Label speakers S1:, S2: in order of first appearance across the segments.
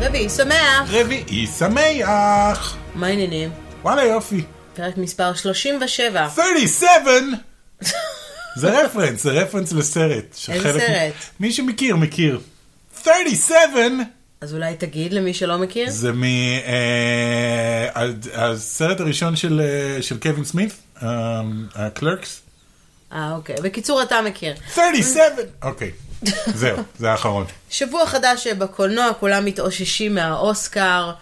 S1: רביעי שמח!
S2: רביעי שמח!
S1: מה העניינים?
S2: וואלה יופי.
S1: פרק מספר 37.
S2: 37! זה רפרנס, זה רפרנס לסרט.
S1: איזה
S2: שחלק-
S1: סרט?
S2: מי שמכיר, מכיר. 37!
S1: אז אולי תגיד למי שלא מכיר?
S2: זה מהסרט הראשון של אה, של קווין סמית, אה, הקלרקס.
S1: אה, אוקיי. בקיצור, אתה מכיר.
S2: 37! אוקיי, זהו, זה האחרון.
S1: שבוע חדש בקולנוע, כולם מתאוששים מהאוסקר,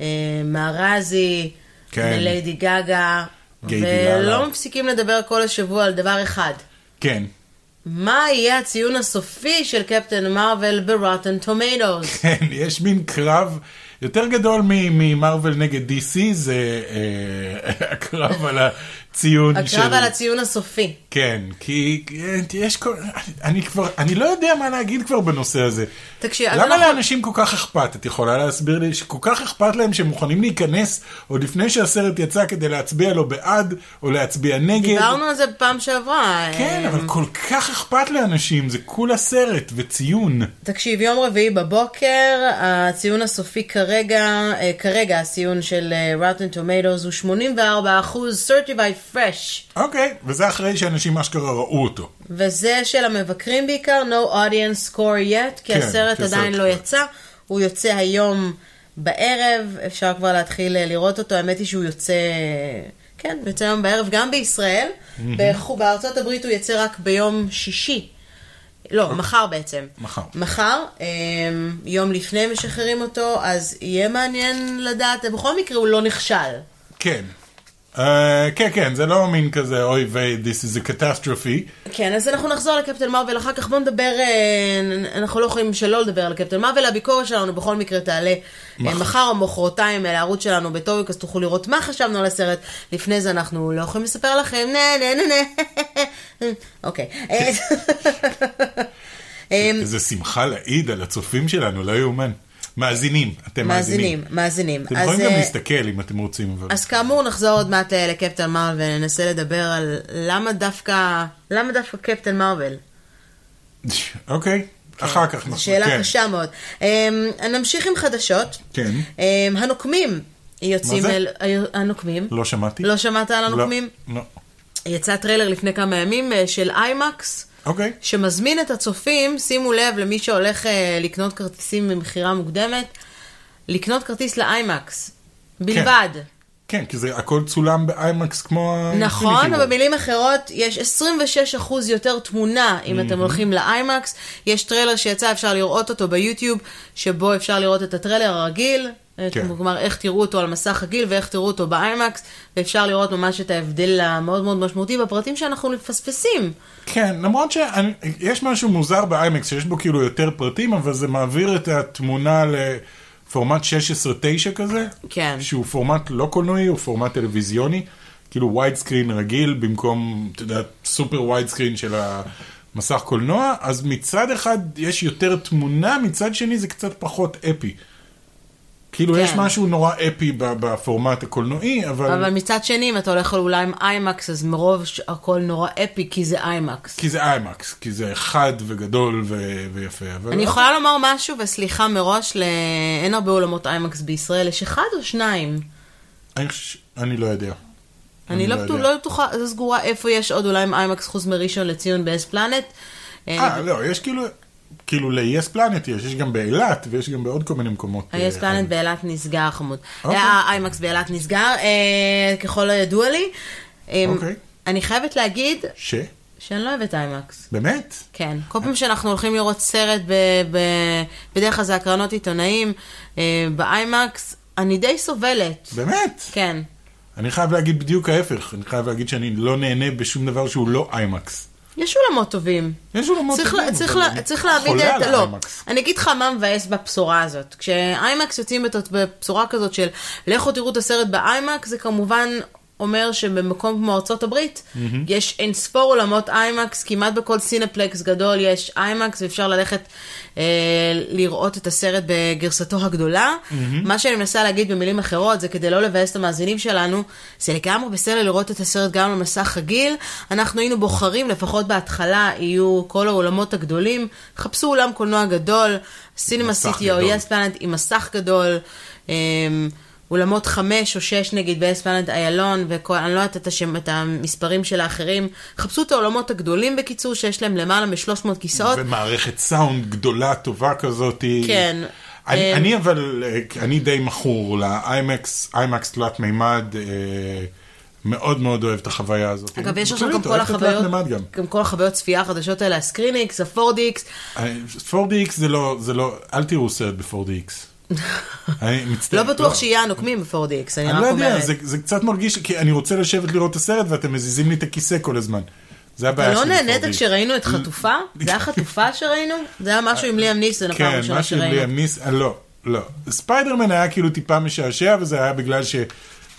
S1: אה, מהרזי,
S2: כן.
S1: מליידי גגה,
S2: גיידי
S1: ולא
S2: לאלה.
S1: מפסיקים לדבר כל השבוע על דבר אחד.
S2: כן.
S1: מה יהיה הציון הסופי של קפטן מרוויל ברוטן טומטוס?
S2: כן, יש מין קרב יותר גדול מ- ממרוויל נגד DC, זה אה, הקרב על הציון של...
S1: הקרב על הציון הסופי.
S2: כן, כי אה, יש כל... אני כבר, אני לא יודע מה להגיד כבר בנושא הזה.
S1: תקשיב, אז
S2: למה לא-
S1: אנחנו-
S2: לאנשים כל כך אכפת? את יכולה להסביר לי שכל כך אכפת להם שהם מוכנים להיכנס עוד לפני שהסרט יצא כדי להצביע לו בעד או להצביע נגד?
S1: דיברנו על זה בפעם שעברה.
S2: כן,
S1: אה,
S2: אבל כל כך אכפת לאנשים, זה כולה סרט וציון.
S1: תקשיב, יום רביעי בבוקר, הציון הסופי כרגע, אה, כרגע הציון של אה, Rotten Tomatoes הוא 84 אחוז, certified fresh,
S2: אוקיי, וזה אחרי שאנשים אשכרה ראו אותו.
S1: וזה של המבקרים בעיקר, no audience score yet, כי
S2: כן,
S1: הסרט
S2: כי
S1: עדיין
S2: הסרט-
S1: לא יצא, הוא יוצא היום בערב, אפשר כבר להתחיל אה, לראות אותו, האמת היא שהוא יוצא, כן, הוא יוצא היום בערב, גם בישראל, בחו- בארצות הברית הוא יצא רק ביום שישי. לא, מחר בעצם.
S2: אוקיי. מחר.
S1: מחר, אמ, יום לפני משחררים אותו, אז יהיה מעניין לדעת, בכל מקרה הוא לא נכשל.
S2: כן. Uh, כן, כן, זה לא מין כזה, אוי ויי, this is a catastrophe.
S1: כן, אז אנחנו נחזור לקפטן מרוויל אחר כך, בואו נדבר, אה, נ- אנחנו לא יכולים שלא לדבר על קפטן מרוויל, הביקורת שלנו בכל מקרה תעלה אה, מחר או מחרתיים אל הערוץ שלנו בטוביק, אז תוכלו לראות מה חשבנו על הסרט. לפני זה אנחנו לא יכולים לספר לכם, נה נה נה נה. אוקיי.
S2: כן.
S1: אה, אמ,
S2: איזה שמחה להעיד על הצופים שלנו, לא יאומן. מאזינים, אתם מאזינים.
S1: אה, מאזינים, מאזינים.
S2: אתם
S1: אז,
S2: יכולים גם
S1: אה,
S2: להסתכל אם אתם רוצים, אבל...
S1: אז כאמור, נחזור עוד מעט אה, לקפטן מרוויל וננסה לדבר על למה דווקא, למה דווקא קפטן מרוויל?
S2: אוקיי, אחר כך נחזור.
S1: שאלה
S2: כן.
S1: קשה מאוד. אמ, נמשיך עם חדשות.
S2: כן.
S1: אמ, הנוקמים יוצאים
S2: מה זה?
S1: אל... הנוקמים.
S2: לא שמעתי.
S1: לא שמעת על הנוקמים?
S2: לא.
S1: יצא טריילר לפני כמה ימים אה, של איימקס,
S2: אוקיי.
S1: שמזמין את הצופים, שימו לב למי שהולך אה, לקנות כרטיסים ממכירה מוקדמת, לקנות כרטיס לאיימקס. בלבד.
S2: כן, כי זה הכל צולם באיימקס כמו... ה-
S1: נכון,
S2: Infinity War.
S1: אבל במילים אחרות, יש 26% יותר תמונה אם אתם הולכים לאיימקס. יש טריילר שיצא, אפשר לראות אותו ביוטיוב, שבו אפשר לראות את הטריילר הרגיל. אה,
S2: כן.
S1: כלומר, איך תראו אותו על מסך רגיל ואיך תראו אותו באיימקס, ואפשר לראות ממש את ההבדל המאוד מאוד משמעותי בפרטים שאנחנו מפספסים.
S2: כן, למרות שיש משהו מוזר באיימקס, שיש בו כאילו יותר פרטים, אבל זה מעביר את התמונה לפורמט 16-9 כזה.
S1: כן.
S2: שהוא פורמט לא קולנועי, הוא פורמט טלוויזיוני. כאילו וייד סקרין רגיל, במקום, אתה יודע, סופר וייד סקרין של המסך קולנוע. אז מצד אחד יש יותר תמונה, מצד שני זה קצת פחות אפי. כאילו
S1: כן.
S2: יש משהו נורא אפי ב- בפורמט הקולנועי,
S1: אבל מצד שני, אם אתה הולך אולי עם איימקס, אז מרוב ש- הכל נורא אפי, כי זה איימקס.
S2: כי זה איימקס, כי זה חד וגדול ו- ויפה. אבל-
S1: אני יכולה לומר משהו, וסליחה מראש, ל- אין הרבה אולמות איימקס בישראל, יש אחד או שניים.
S2: אני חושב, אני לא יודע.
S1: אני לא
S2: יודע.
S1: בטוח- לא בטוחה, לא סגורה איפה יש עוד אולי עם איימקס חוץ מראשון לציון באס פלנט.
S2: אה, לא, יש כאילו, כאילו ל-yes planet יש, יש גם באילת ויש גם בעוד כל מיני מקומות.
S1: ה-yes
S2: אה,
S1: פלנט באילת נסגר חמוד.
S2: אוקיי.
S1: אה, האיימקס באילת נסגר, אה, ככל הידוע לי. אה,
S2: אוקיי.
S1: אני חייבת להגיד
S2: ש?
S1: שאני לא אוהבת איימקס.
S2: באמת?
S1: כן, כל פעם שאנחנו הולכים לראות סרט, ב- ב- בדרך כלל זה הקרנות עיתונאים, אה, באיימקס, אני די סובלת.
S2: באמת?
S1: כן.
S2: אני חייב להגיד בדיוק ההפך, אני חייב להגיד שאני לא נהנה בשום דבר שהוא לא איימקס.
S1: יש אולמות טובים.
S2: יש אולמות
S1: צריך,
S2: טובים,
S1: לה, צריך,
S2: אבל
S1: לה,
S2: אני
S1: צריך להבין
S2: חולה
S1: את...
S2: על
S1: לא,
S2: האיימקס.
S1: אני אגיד לך מה מבאס בבשורה הזאת. כשאיימקס יוצאים בת- בבשורה כזאת של לכו תראו את הסרט באיימקס, זה כמובן אומר שבמקום כמו ארצות הברית, יש אין ספור אולמות איימקס, כמעט בכל סינפלקס גדול יש איימקס, ואפשר ללכת אה, לראות את הסרט בגרסתו הגדולה. מה שאני מנסה להגיד במילים אחרות, זה כדי לא לבאס את המאזינים שלנו, זה לגמרי בסדר לראות את הסרט גם על המסך רגיל. אנחנו היינו בוחרים, לפחות בהתחלה יהיו כל האולמות הגדולים, חפשו אולם קולנוע גדול, סינמה
S2: מסך
S1: סיטי או
S2: גדול.
S1: יס פלנט עם מסך גדול. אמ, אולמות חמש או שש נגיד באספלנד איילון, ואני לא יודעת את, השם, את המספרים של האחרים. חפשו את האולמות הגדולים בקיצור, שיש להם למעלה מ-300 כיסאות.
S2: ומערכת סאונד גדולה, טובה כזאת. היא-
S1: כן.
S2: אני,
S1: אמ,
S2: אני אבל, אה, אני די מכור לאיימקס, איימקס תלת מימד, אה, מאוד מאוד אוהב את החוויה הזאת.
S1: אגב, יש עכשיו
S2: בכללית,
S1: גם כל
S2: אוהב את התלת
S1: החוויות,
S2: מימד גם.
S1: גם כל החוויות צפייה החדשות האלה, הסקריניקס, הפורדיקס,
S2: כן, אה, 4DX זה לא, זה לא, אל תראו סרט ב-4DX. אני מצטער.
S1: לא בטוח שיהיה הנוקמים בפורדיקס, אני
S2: אני לא
S1: רק
S2: יודע,
S1: אומרת.
S2: זה, זה קצת מרגיש, כי אני רוצה לשבת לראות את הסרט ואתם מזיזים לי את הכיסא כל הזמן. זה הבעיה
S1: אתה
S2: שלי.
S1: לא נהנית
S2: ב-4DX.
S1: כשראינו את חטופה? זה היה חטופה שראינו? זה היה משהו עם ליאם ניסן הפעם
S2: כן,
S1: הראשונה
S2: מה
S1: שראינו.
S2: שליאם ניס... אה, לא, לא. ספיידרמן היה כאילו טיפה משעשע, וזה היה בגלל ש...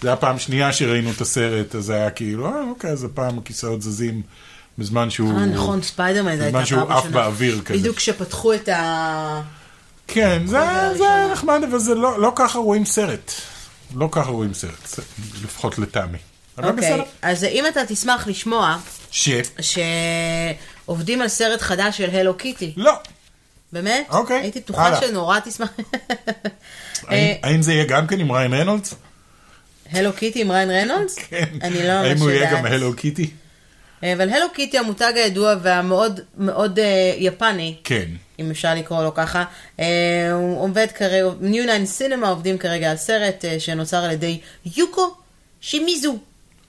S2: זה היה פעם שנייה שראינו את הסרט, אז זה היה כאילו, אה, אוקיי, אז הפעם הכיסאות זזים בזמן שהוא...
S1: אה, נכון, ספיידרמן זה הייתה
S2: בזמן
S1: הפעם
S2: שהוא עף
S1: הראשונה.
S2: באוויר כזה.
S1: בדיוק כשפתחו את ה...
S2: כן, זה
S1: נכון. זה
S2: זה
S1: הראשונה.
S2: נחמד, אבל זה לא לא ככה רואים סרט. לא ככה רואים סרט, זה- לפחות לטעמי. אבל לא
S1: אוקיי,
S2: בסדר.
S1: אז אם אתה תשמח לשמוע
S2: ש...
S1: שעובדים על סרט חדש של הלו קיטי,
S2: לא.
S1: באמת?
S2: אוקיי,
S1: הייתי בטוחה
S2: הלאה.
S1: שנורא תשמח. אה,
S2: האם- האם זה יהיה גם כן עם ריין רנולדס?
S1: הלו קיטי עם ריין רנולדס?
S2: כן.
S1: אני לא
S2: האם
S1: ממש
S2: הוא יהיה גם
S1: יודעת.
S2: הלו קיטי?
S1: אבל הלו קיטי המותג הידוע והמאוד מאוד אה, יפני,
S2: כן.
S1: אם אפשר לקרוא לו ככה, אה, הוא עובד כרגע, ניו ניין סינמה עובדים כרגע על סרט אה, שנוצר על ידי יוקו שימיזו.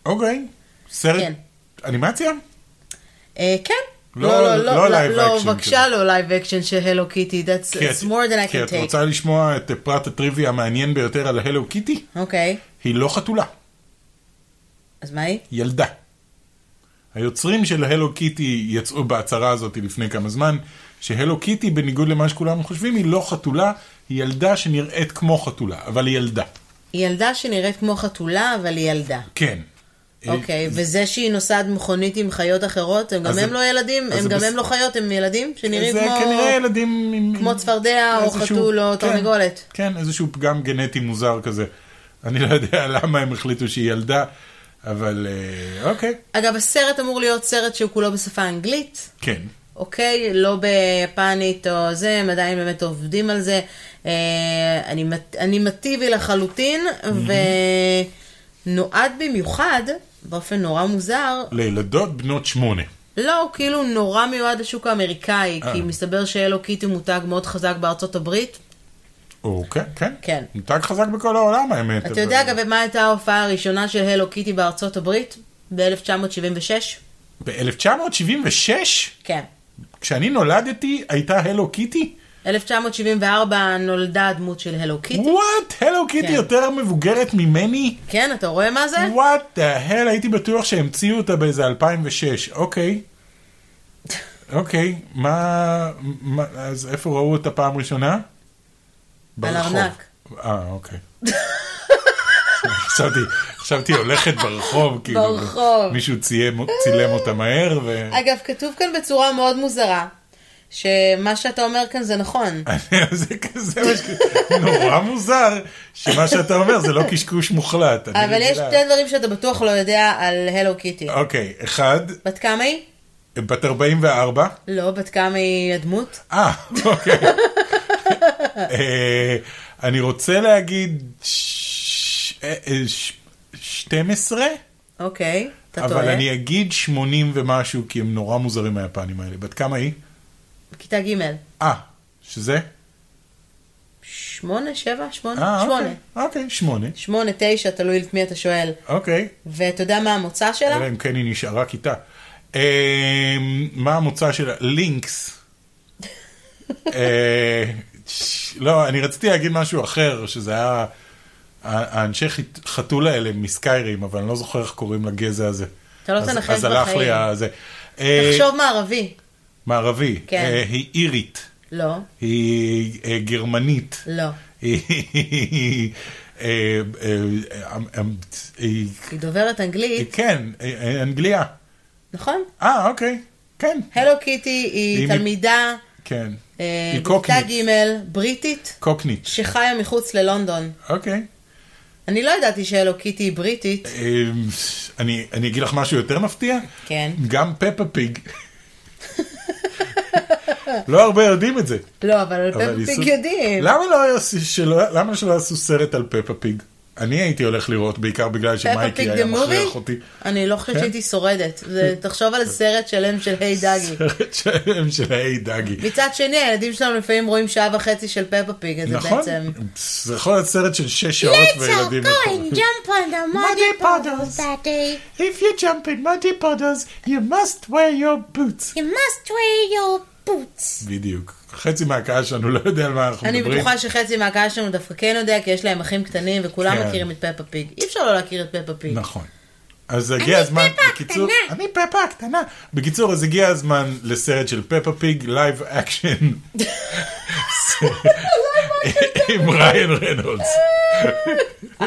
S2: אוקיי. סרט
S1: כן.
S2: אנימציה?
S1: אה, כן.
S2: לא- לא לייב
S1: לא,
S2: אקשן
S1: בבקשה לא לייב אקשן של הלו קיטי, that's
S2: כי
S1: it's more than I
S2: כי
S1: can
S2: את
S1: take.
S2: רוצה לשמוע את פרט הטריוויה המעניין ביותר על הלו קיטי?
S1: אוקיי,
S2: היא לא חתולה,
S1: אז מה היא?
S2: ילדה. היוצרים של הלו קיטי יצאו בהצהרה הזאת לפני כמה זמן, שהלו קיטי, בניגוד למה שכולם חושבים, היא לא חתולה, היא ילדה שנראית כמו חתולה, אבל היא ילדה.
S1: היא ילדה שנראית כמו חתולה, אבל היא ילדה.
S2: כן. אה,
S1: אוקיי, וזה שהיא נוסעת מכונית עם חיות אחרות, הם גם
S2: אז
S1: הם
S2: זה-
S1: לא ילדים,
S2: אז
S1: הם
S2: זה
S1: גם
S2: בס-
S1: הם לא חיות, הם ילדים שנראים
S2: זה
S1: כמו...
S2: כנראה ילדים עם...
S1: כמו צפרדע או
S2: איזשהו-
S1: חתול או
S2: כן,
S1: תרנגולת.
S2: כן, איזשהו פגם גנטי מוזר כזה. אני לא יודע למה הם החליטו שהיא ילדה, אבל אה, אוקיי,
S1: אגב, הסרט אמור להיות סרט שהוא כולו בשפה האנגלית,
S2: כן.
S1: אוקיי? לא ביפנית או זה, הם עדיין באמת עובדים על זה. אה, אני מת- אנימטיבי לחלוטין, ונועד במיוחד, באופן נורא מוזר,
S2: לילדות בנות שמונה.
S1: לא, הוא כאילו נורא מיועד לשוק האמריקאי,
S2: אה.
S1: כי מסתבר שהלו קיטי מותג מאוד חזק בארצות הברית.
S2: אוקיי, כן.
S1: כן.
S2: מותג חזק בכל העולם האמת.
S1: אתה
S2: אבל-
S1: יודע אגב מה הייתה ההופעה הראשונה של הלו קיטי בארצות הברית? ב-1976?
S2: ב-1976,
S1: כן.
S2: כשאני נולדתי, הייתה הלו קיטי?
S1: 1974 נולדה הדמות של הלו קיטי.
S2: וואט? הלו קיטי
S1: כן.
S2: יותר מבוגרת ממני?
S1: כן, אתה רואה מה זה?
S2: וואט דה הל, הייתי בטוח שהמציאו אותה באיזה 2006. אוקיי. אוקיי, מה... מה- אז איפה ראו אותה פעם ראשונה? ברחוב.
S1: ארנק.
S2: אה, אוקיי. חשבתי, חשבתי הולכת ברחוב, כאילו,
S1: ברחוב.
S2: מישהו צילם, צילם אותה מהר, ו...
S1: אגב, כתוב כאן בצורה מאוד מוזרה, שמה שאתה אומר כאן זה נכון.
S2: זה כזה משהו נורא מוזר, שמה שאתה אומר זה לא קשקוש מוחלט. אני
S1: אבל יש
S2: רגילה.
S1: שתי דברים שאתה בטוח לא יודע על הלו קיטי.
S2: אוקיי, אחד,
S1: בת כמה היא?
S2: בת 44.
S1: לא, בת כמה היא הדמות?
S2: אה, אוקיי. אה, אני רוצה להגיד ש- אה, אה, ש- 12,
S1: אוקיי, אתה טועה.
S2: אבל אני אגיד 80 ומשהו, כי הם נורא מוזרים היפנים האלה. בת כמה היא?
S1: כיתה ג'
S2: אה, שזה?
S1: שמונה, שבע, שמונה,
S2: אה,
S1: שמונה.
S2: אוקיי, אוקיי, שמונה.
S1: שמונה, תשע, תלוי את מי אתה שואל.
S2: אוקיי,
S1: ואתה יודע מה המוצא שלה?
S2: אלא אם כן היא נשארה כיתה. אה, מה המוצא שלה? לינקס. אה, ש- לא, אני רציתי להגיד משהו אחר, שזה היה... ה- האנשי חית- חתול האלה מסקיירים, אבל אני לא זוכר איך קוראים לגזע הזה.
S1: אתה לא
S2: אז-
S1: תנחש
S2: אז הלך לי
S1: בחיים.
S2: הזה. אה,
S1: תחשוב מערבי.
S2: מערבי.
S1: כן.
S2: אה, היא אירית.
S1: לא,
S2: היא אה, גרמנית.
S1: לא.
S2: היא- אה, אה, אה, אה, אה,
S1: היא דוברת
S2: אה,
S1: אנגלית,
S2: כן, אה, אה, אנגליה.
S1: נכון?
S2: אה, אוקיי, כן,
S1: הלו קיטי היא
S2: היא מ-
S1: תלמידה
S2: כן.
S1: אה,
S2: היא
S1: בכיתה
S2: קוקנית,
S1: ג' בריטית,
S2: קוקנית,
S1: שחיה מחוץ ללונדון.
S2: אוקיי.
S1: אני לא ידעתי שהלו קיטי היא בריטית.
S2: אה, אני אני אגיד לך משהו יותר מפתיע?
S1: כן.
S2: גם פפה פיג. לא הרבה יודעים את זה.
S1: לא, אבל על
S2: אבל
S1: פפפיג
S2: ניסו-
S1: יודעים.
S2: למה לא עשו- שלא- למה שלא עשו סרט על פפה פיג? אני הייתי הולך לראות בעיקר בגלל
S1: פיג
S2: שמייקי היה
S1: the movie?
S2: מכריח אותי.
S1: אני לא חושבת
S2: כן.
S1: שהייתי שורדת. זה- תחשוב על סרט שלם של היי דאגי.
S2: סרט שלם של היי דגי.
S1: מצד שני, הילדים שלנו לפעמים רואים שעה וחצי של פפה פיג, אז זה
S2: נכון?
S1: בעצם...
S2: זה יכול להיות סרט של שש שעות וילדים יכולים.
S3: jump on the muddy
S2: puddles.
S3: puddles, Daddy.
S2: If you jump in muddy puddles, you must wear your boots.
S3: You must wear your boots.
S2: בדיוק. חצי מהקהל שלנו לא יודע על מה אנחנו
S1: אני
S2: מדברים.
S1: בטוחה שחצי מהקהל שלנו דווקא כן יודע, כי יש להם אחים קטנים וכולם
S2: כן.
S1: מכירים את פפה פיג. אי אפשר לא להכיר את פפה פיג.
S2: נכון. אז הגיע הזמן, בקיצור,
S3: הקטנה.
S2: אני פפה הקטנה. בקיצור, אז הגיע הזמן לסרט של פפה פיג, לייב אקשן. עם ריין רנולדס.
S1: אה,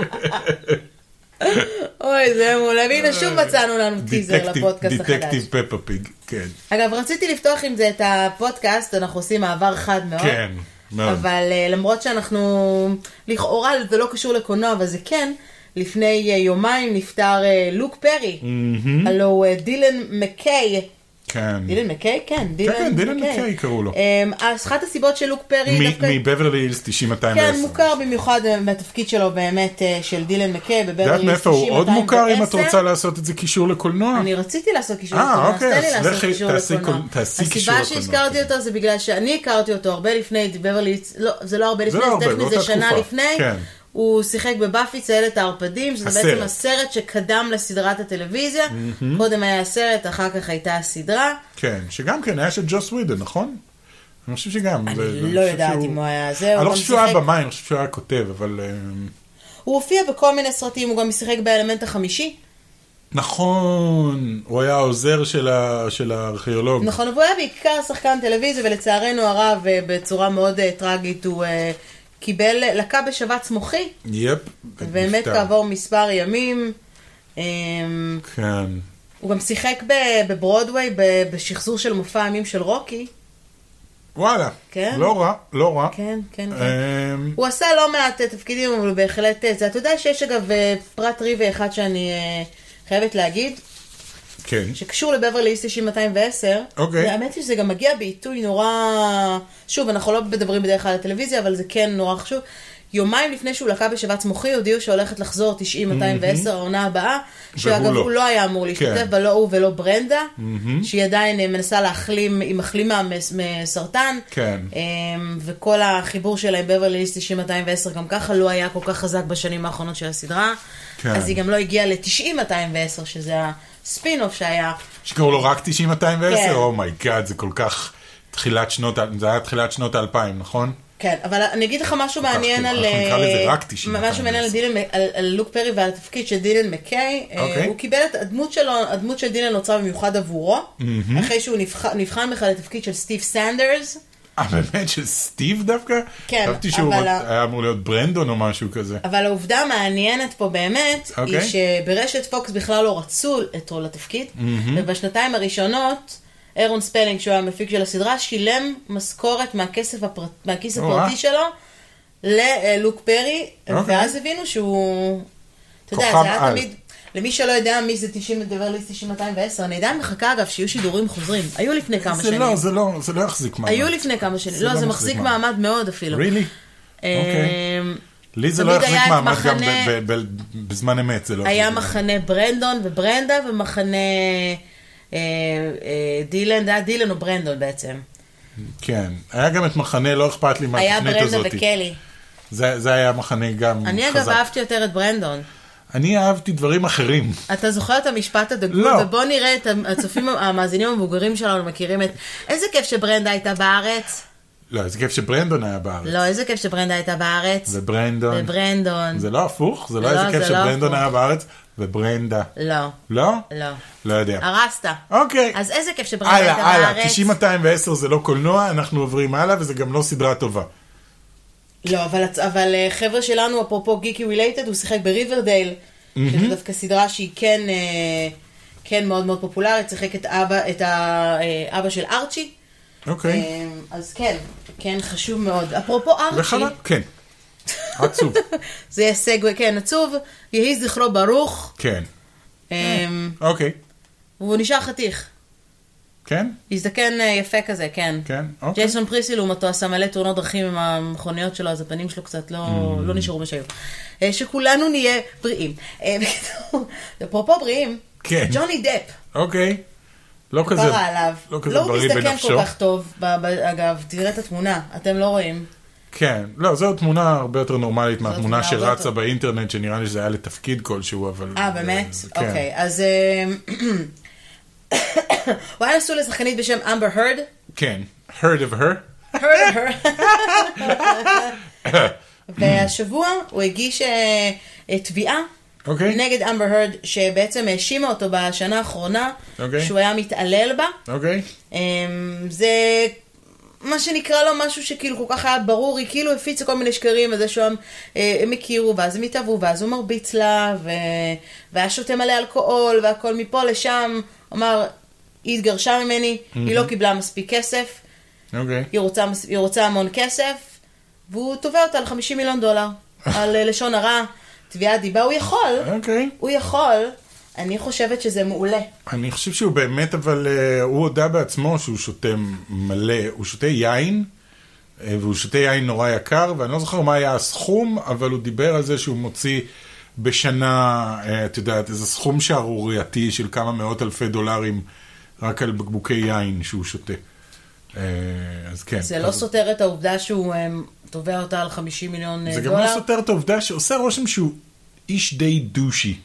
S1: אוי, זה מעולה. והנה,
S2: אה,
S1: שוב מצאנו לנו טיזר
S2: דטקטיב-
S1: לפודקאסט החדש.
S2: דטקטיב פפה פיג, כן.
S1: אגב, רציתי לפתוח עם זה את הפודקאסט, אנחנו עושים מעבר חד מאוד.
S2: כן, מאוד.
S1: אה? אבל אה, למרות שאנחנו, לכאורה זה לא קשור לקולנוע, אבל זה כן, לפני אה, יומיים נפטר אה, לוק פרי. הלו הוא, אה, דילן מקיי.
S2: כן.
S1: דילן מקיי? כן, דילן
S2: כן, דילן מקיי קראו לו.
S1: אה, אז אחת הסיבות שלוק פרי דווקא...
S2: מ- מבברלי הילס 9210.
S1: כן, מוכר במיוחד אה, מהתפקיד שלו באמת, אה, של דילן מקיי,
S2: את
S1: בברלי
S2: יודעת מאיפה הוא עוד
S1: 9210.
S2: מוכר אם את רוצה לעשות את זה קישור לקולנוע?
S1: אני רציתי לעשות קישור
S2: אה,
S1: לקולנוע, אז
S2: אוקיי,
S1: תן לי
S2: אז
S1: לעשות
S2: לכי,
S1: קישור
S2: תעשי
S1: לקולנוע.
S2: קול- תעשי קישור
S1: הסיבה
S2: לקולנוע. כן.
S1: שהזכרתי אותו זה בגלל שאני הכרתי אותו הרבה לפני בברלי, הילס- לא, זה לא הרבה לפני,
S2: לא הרבה,
S1: זה טכנית זה
S2: באותה
S1: שנה
S2: תקופה,
S1: לפני.
S2: כן.
S1: הוא שיחק בבאפי ציילת הערפדים, שזה
S2: הסרט.
S1: בעצם הסרט שקדם לסדרת הטלוויזיה. קודם היה הסרט, אחר כך הייתה הסדרה.
S2: כן, שגם כן היה של ג'וס ווידן, נכון? אני חושב שגם.
S1: אני
S2: זה-
S1: לא
S2: חושב
S1: יודעת
S2: שהוא-
S1: אם הוא היה זה, הוא
S2: אני לא
S1: גם
S2: חושב שהוא היה
S1: שיחק-
S2: במאי, אני חושב שהוא היה כותב, אבל... אמ,
S1: הוא הופיע בכל מיני סרטים, הוא גם שיחק באלמנט החמישי,
S2: נכון, הוא היה העוזר של ה- של הארכיאולוג.
S1: נכון, והוא היה בעיקר שחקן טלוויזיה, ולצערנו הרב, אה, בצורה מאוד אה, טרגית, הוא אה, קיבל, לקה בשבץ מוחי.
S2: יפ.
S1: ומת
S2: כן, נפטר.
S1: כעבור מספר ימים. אמ,
S2: כן.
S1: הוא גם שיחק ב- בברודוויי ב- בשחזור של מופע הימים של רוקי.
S2: וואלה.
S1: כן.
S2: לא רע, לא רע.
S1: כן, כן, כן.
S2: אמ,
S1: הוא עשה לא מעט אה, תפקידים, אבל הוא בהחלט אה, זה. אתה יודע שיש אגב אה, פרט ריבי אחד שאני אה, חייבת להגיד,
S2: כן.
S1: שקשור לבברלי איסט 9210.
S2: אוקיי.
S1: האמת היא שזה גם מגיע בעיתוי נורא... שוב, אנחנו לא מדברים בדרך כלל על הטלוויזיה, אבל זה כן נורא חשוב. יומיים לפני שהוא לקה בשבץ מוחי, הודיעו שהולכת לחזור 90-210, העונה הבאה. שאגב,
S2: לא.
S1: הוא לא היה אמור להשתתף
S2: כן.
S1: בה, לא הוא ולא ברנדה, שהיא עדיין אה, מנסה להחלים, היא מחלימה מס- מסרטן.
S2: כן.
S1: אמ, וכל החיבור שלהם, בברלי הילס 90-210, גם ככה לא היה כל כך חזק בשנים האחרונות של הסדרה.
S2: כן.
S1: אז היא גם לא הגיעה ל-90-210, שזה הספין-אוף שהיה.
S2: שקראו לו רק 90-210?
S1: כן.
S2: אומייגאד, oh זה כל כך תחילת שנות, ה- זה היה תחילת שנות האלפיים, נכון?
S1: כן, אבל אני אגיד לך משהו
S2: כך,
S1: מעניין
S2: כאילו,
S1: על... אה,
S2: אנחנו נקרא לזה רק 90,
S1: משהו מעניין על דילן, על על לוק פרי ועל התפקיד של דילן מקיי. אה,
S2: אוקיי.
S1: הוא קיבל את הדמות שלו, הדמות של דילן נוצרה במיוחד עבורו, אחרי שהוא נבח- נבחן בכלל לתפקיד של סטיב סנדרס.
S2: אה, באמת? של סטיב דווקא?
S1: כן,
S2: חשבתי שהוא
S1: אבל
S2: רק-
S1: ה-
S2: היה אמור להיות ברנדון או משהו כזה.
S1: אבל העובדה המעניינת פה באמת, okay. היא
S2: אוקיי.
S1: שברשת פוקס בכלל לא רצו את רול התפקיד, mm-hmm. ובשנתיים הראשונות, אירון ספלינג, שהוא היה המפיק של הסדרה, שילם משכורת מהכסף הפר... מהכיס
S2: או-אה.
S1: הפרטי שלו ללוק פרי,
S2: אה. אוקיי.
S1: ואז הבינו שהוא... אתה יודע,
S2: כוכב
S1: זה היה
S2: על.
S1: תמיד... למי שלא יודע מי זה 90 לדבר ליסט 9210, אני עדיין מחכה אגב שיהיו שידורים חוזרים. היו לפני כמה
S2: זה
S1: שנים.
S2: לא, זה לא, זה לא יחזיק מעמד.
S1: היו לפני כמה שנים.
S2: זה
S1: לא,
S2: לא
S1: זה
S2: מחזיק
S1: מחזיק
S2: מעמד.
S1: מעמד מאוד אפילו.
S2: really?
S1: אה,
S2: אוקיי. לי זה לא
S1: תמיד
S2: יחזיק
S1: היה את
S2: מעמד גם ב-
S1: מחנה-
S2: ב- ב- בזמן אמת, זה לא
S1: היה
S2: יחזיק מעמד.
S1: מחנה ברנדון וברנדה ומחנה אה, אה, דילן, זה היה דילן או ברנדון בעצם.
S2: כן. היה גם את מחנה, לא אכפת לי
S1: היה
S2: מהתוכנית
S1: ברנדה
S2: הזאת.
S1: וקלי.
S2: זה זה היה מחנה גם
S1: אני אגב
S2: חזק.
S1: אהבתי יותר את ברנדון.
S2: אני אהבתי דברים אחרים.
S1: אתה זוכר את המשפט הדגול?
S2: לא.
S1: ובוא נראה את הצופים, המאזינים המבוגרים שלנו מכירים את... איזה כיף שברנדה הייתה בארץ.
S2: לא, איזה כיף שברנדון היה בארץ.
S1: לא, איזה כיף שברנדה הייתה בארץ.
S2: וברנדון.
S1: וברנדון.
S2: לא זה לא הפוך? זה לא
S1: לא,
S2: איזה כיף
S1: זה לא
S2: שברנדון
S1: הפוך.
S2: היה בארץ? וברנדה.
S1: לא,
S2: לא?
S1: לא.
S2: לא יודע.
S1: הרסת.
S2: אוקיי.
S1: אז איזה כיף שברנדה הייתה
S2: הלאה,
S1: בארץ.
S2: הלאה, 90-210 זה לא קולנוע, אנחנו עוברים הלאה, וזה גם לא סדרה טובה.
S1: לא, אבל, אבל אה, חבר'ה שלנו, אפרופו גיקי רילייטד, הוא שיחק בריברדייל, שזו דווקא סדרה שהיא כן, אה, כן מאוד מאוד פופולרית, שיחק את אבא, את ה, אה, אבא של ארצ'י.
S2: אוקיי.
S1: אה, אז כן, כן חשוב מאוד. אפרופו ארצ'י,
S2: וחבל, כן. עצוב,
S1: זה יהיה סגווי, כן, עצוב, יהי זכרו ברוך,
S2: כן.
S1: אה,
S2: אוקיי.
S1: והוא נשאר חתיך.
S2: כן?
S1: הזדקן אה, יפה כזה, כן.
S2: כן? אוקיי.
S1: ג'ייסון פריסי לעומתו עשה מלא תאונות דרכים עם המכוניות שלו, אז הפנים שלו קצת לא,
S2: Mm.
S1: לא נשארו מה שהיו. אה, שכולנו נהיה בריאים. אה, בקיצור, אפרופו בריאים,
S2: כן.
S1: ג'וני דפ,
S2: אוקיי. לא כזה,
S1: פרה עליו.
S2: לא כזה
S1: לא הוא
S2: בריא
S1: מזדקן
S2: בנפשו.
S1: כל כך טוב, ב- ב- אגב, תראה את התמונה, אתם לא רואים.
S2: כן, לא, זו תמונה הרבה יותר נורמלית מהתמונה
S1: תמונה הרבה
S2: שרצה
S1: יותר-
S2: באינטרנט, שנראה לי שזה היה לתפקיד כלשהו, אבל...
S1: אה, באמת?
S2: אה, כן.
S1: אוקיי, אז... אה, הוא היה נשוי לשחקנית בשם אמבר הרד.
S2: כן. heard of her?
S1: הרד הרד. והשבוע הוא הגיש אה, אה, תביעה
S2: אוקיי.
S1: נגד אמבר הרד, שבעצם האשימה אותו בשנה האחרונה,
S2: אוקיי.
S1: שהוא היה מתעלל בה.
S2: אוקיי.
S1: אמ, זה מה שנקרא לו משהו שכאילו כל כך היה ברור, היא כאילו הפיצה כל מיני שקרים, וזה שהם אה, הם הכירו, ואז הם התאהבו, ואז הוא מרביץ לה, ו... והיה שותה מלא אלכוהול, והכל מפה לשם. הוא אמר, היא התגרשה ממני, היא לא קיבלה מספיק כסף,
S2: אוקיי.
S1: היא רוצה, מס- היא רוצה המון כסף, והוא תובע אותה על 50 מיליון דולר, על אה, לשון הרע, תביעת דיבה, הוא יכול,
S2: אוקיי.
S1: הוא יכול, אני חושבת שזה מעולה.
S2: אני חושב שהוא באמת, אבל אה, הוא הודה בעצמו שהוא שותה מלא, הוא שותה יין, אה, והוא שותה יין נורא יקר, ואני לא זוכר מה היה הסכום, אבל הוא דיבר על זה שהוא מוציא בשנה, אה, את יודעת, איזה סכום שערורייתי של כמה מאות אלפי דולרים רק על בקבוקי יין שהוא שותה. אה, אז כן.
S1: זה לא
S2: אז-
S1: סותר את העובדה שהוא אמ, תובע אותה על 50 מיליון אה,
S2: זה גם
S1: דולר.
S2: לא סותר את העובדה שעושה רושם שהוא איש די דושי.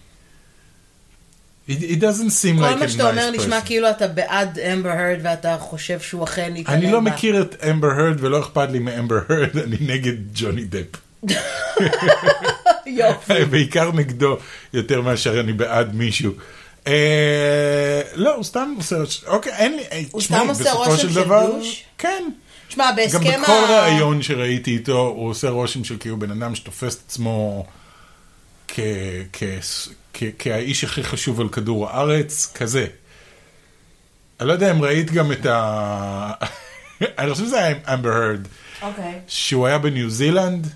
S2: He, he doesn't seem like a nice
S1: כל
S2: person.
S1: מה שאתה אומר נשמע כאילו אתה בעד אמבר הרד ואתה חושב שהוא אכן יתעלם
S2: אני לא
S1: בה.
S2: מכיר את אמבר הרד ולא אכפת לי מאמבר הרד, אני נגד ג'וני דפ.
S1: יופי.
S2: בעיקר נגדו יותר מאשר אני בעד מישהו. אה, לא, הוא סתם עושה רושם, אוקיי, אין לי, אה,
S1: הוא
S2: תשמעי,
S1: סתם עושה
S2: בסופו
S1: רושם של
S2: דבר-
S1: דוש?
S2: כן.
S1: שמע,
S2: גם
S1: בהסכם
S2: בכל ראיון שראיתי איתו, הוא עושה רושם של כאילו בן אדם שתופס את עצמו כ- כ- כ- כהאיש הכי חשוב על כדור הארץ, כזה. אני לא יודע אם ראית גם את ה... אני חושב שזה היה עם אמבר הרד.
S1: אוקיי.
S2: שהוא היה בניו זילנד,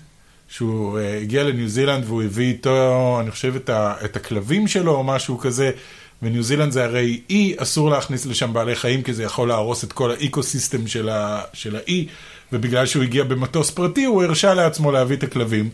S2: שהוא אה, הגיע לניו זילנד והוא הביא איתו, אני חושב, את, ה, את הכלבים שלו או משהו כזה, וניו זילנד זה הרי אי, אסור להכניס לשם בעלי חיים כי זה יכול להרוס את כל האקו-סיסטם של, ה, של האי, ובגלל שהוא הגיע במטוס פרטי, הוא הרשה לעצמו להביא את הכלבים.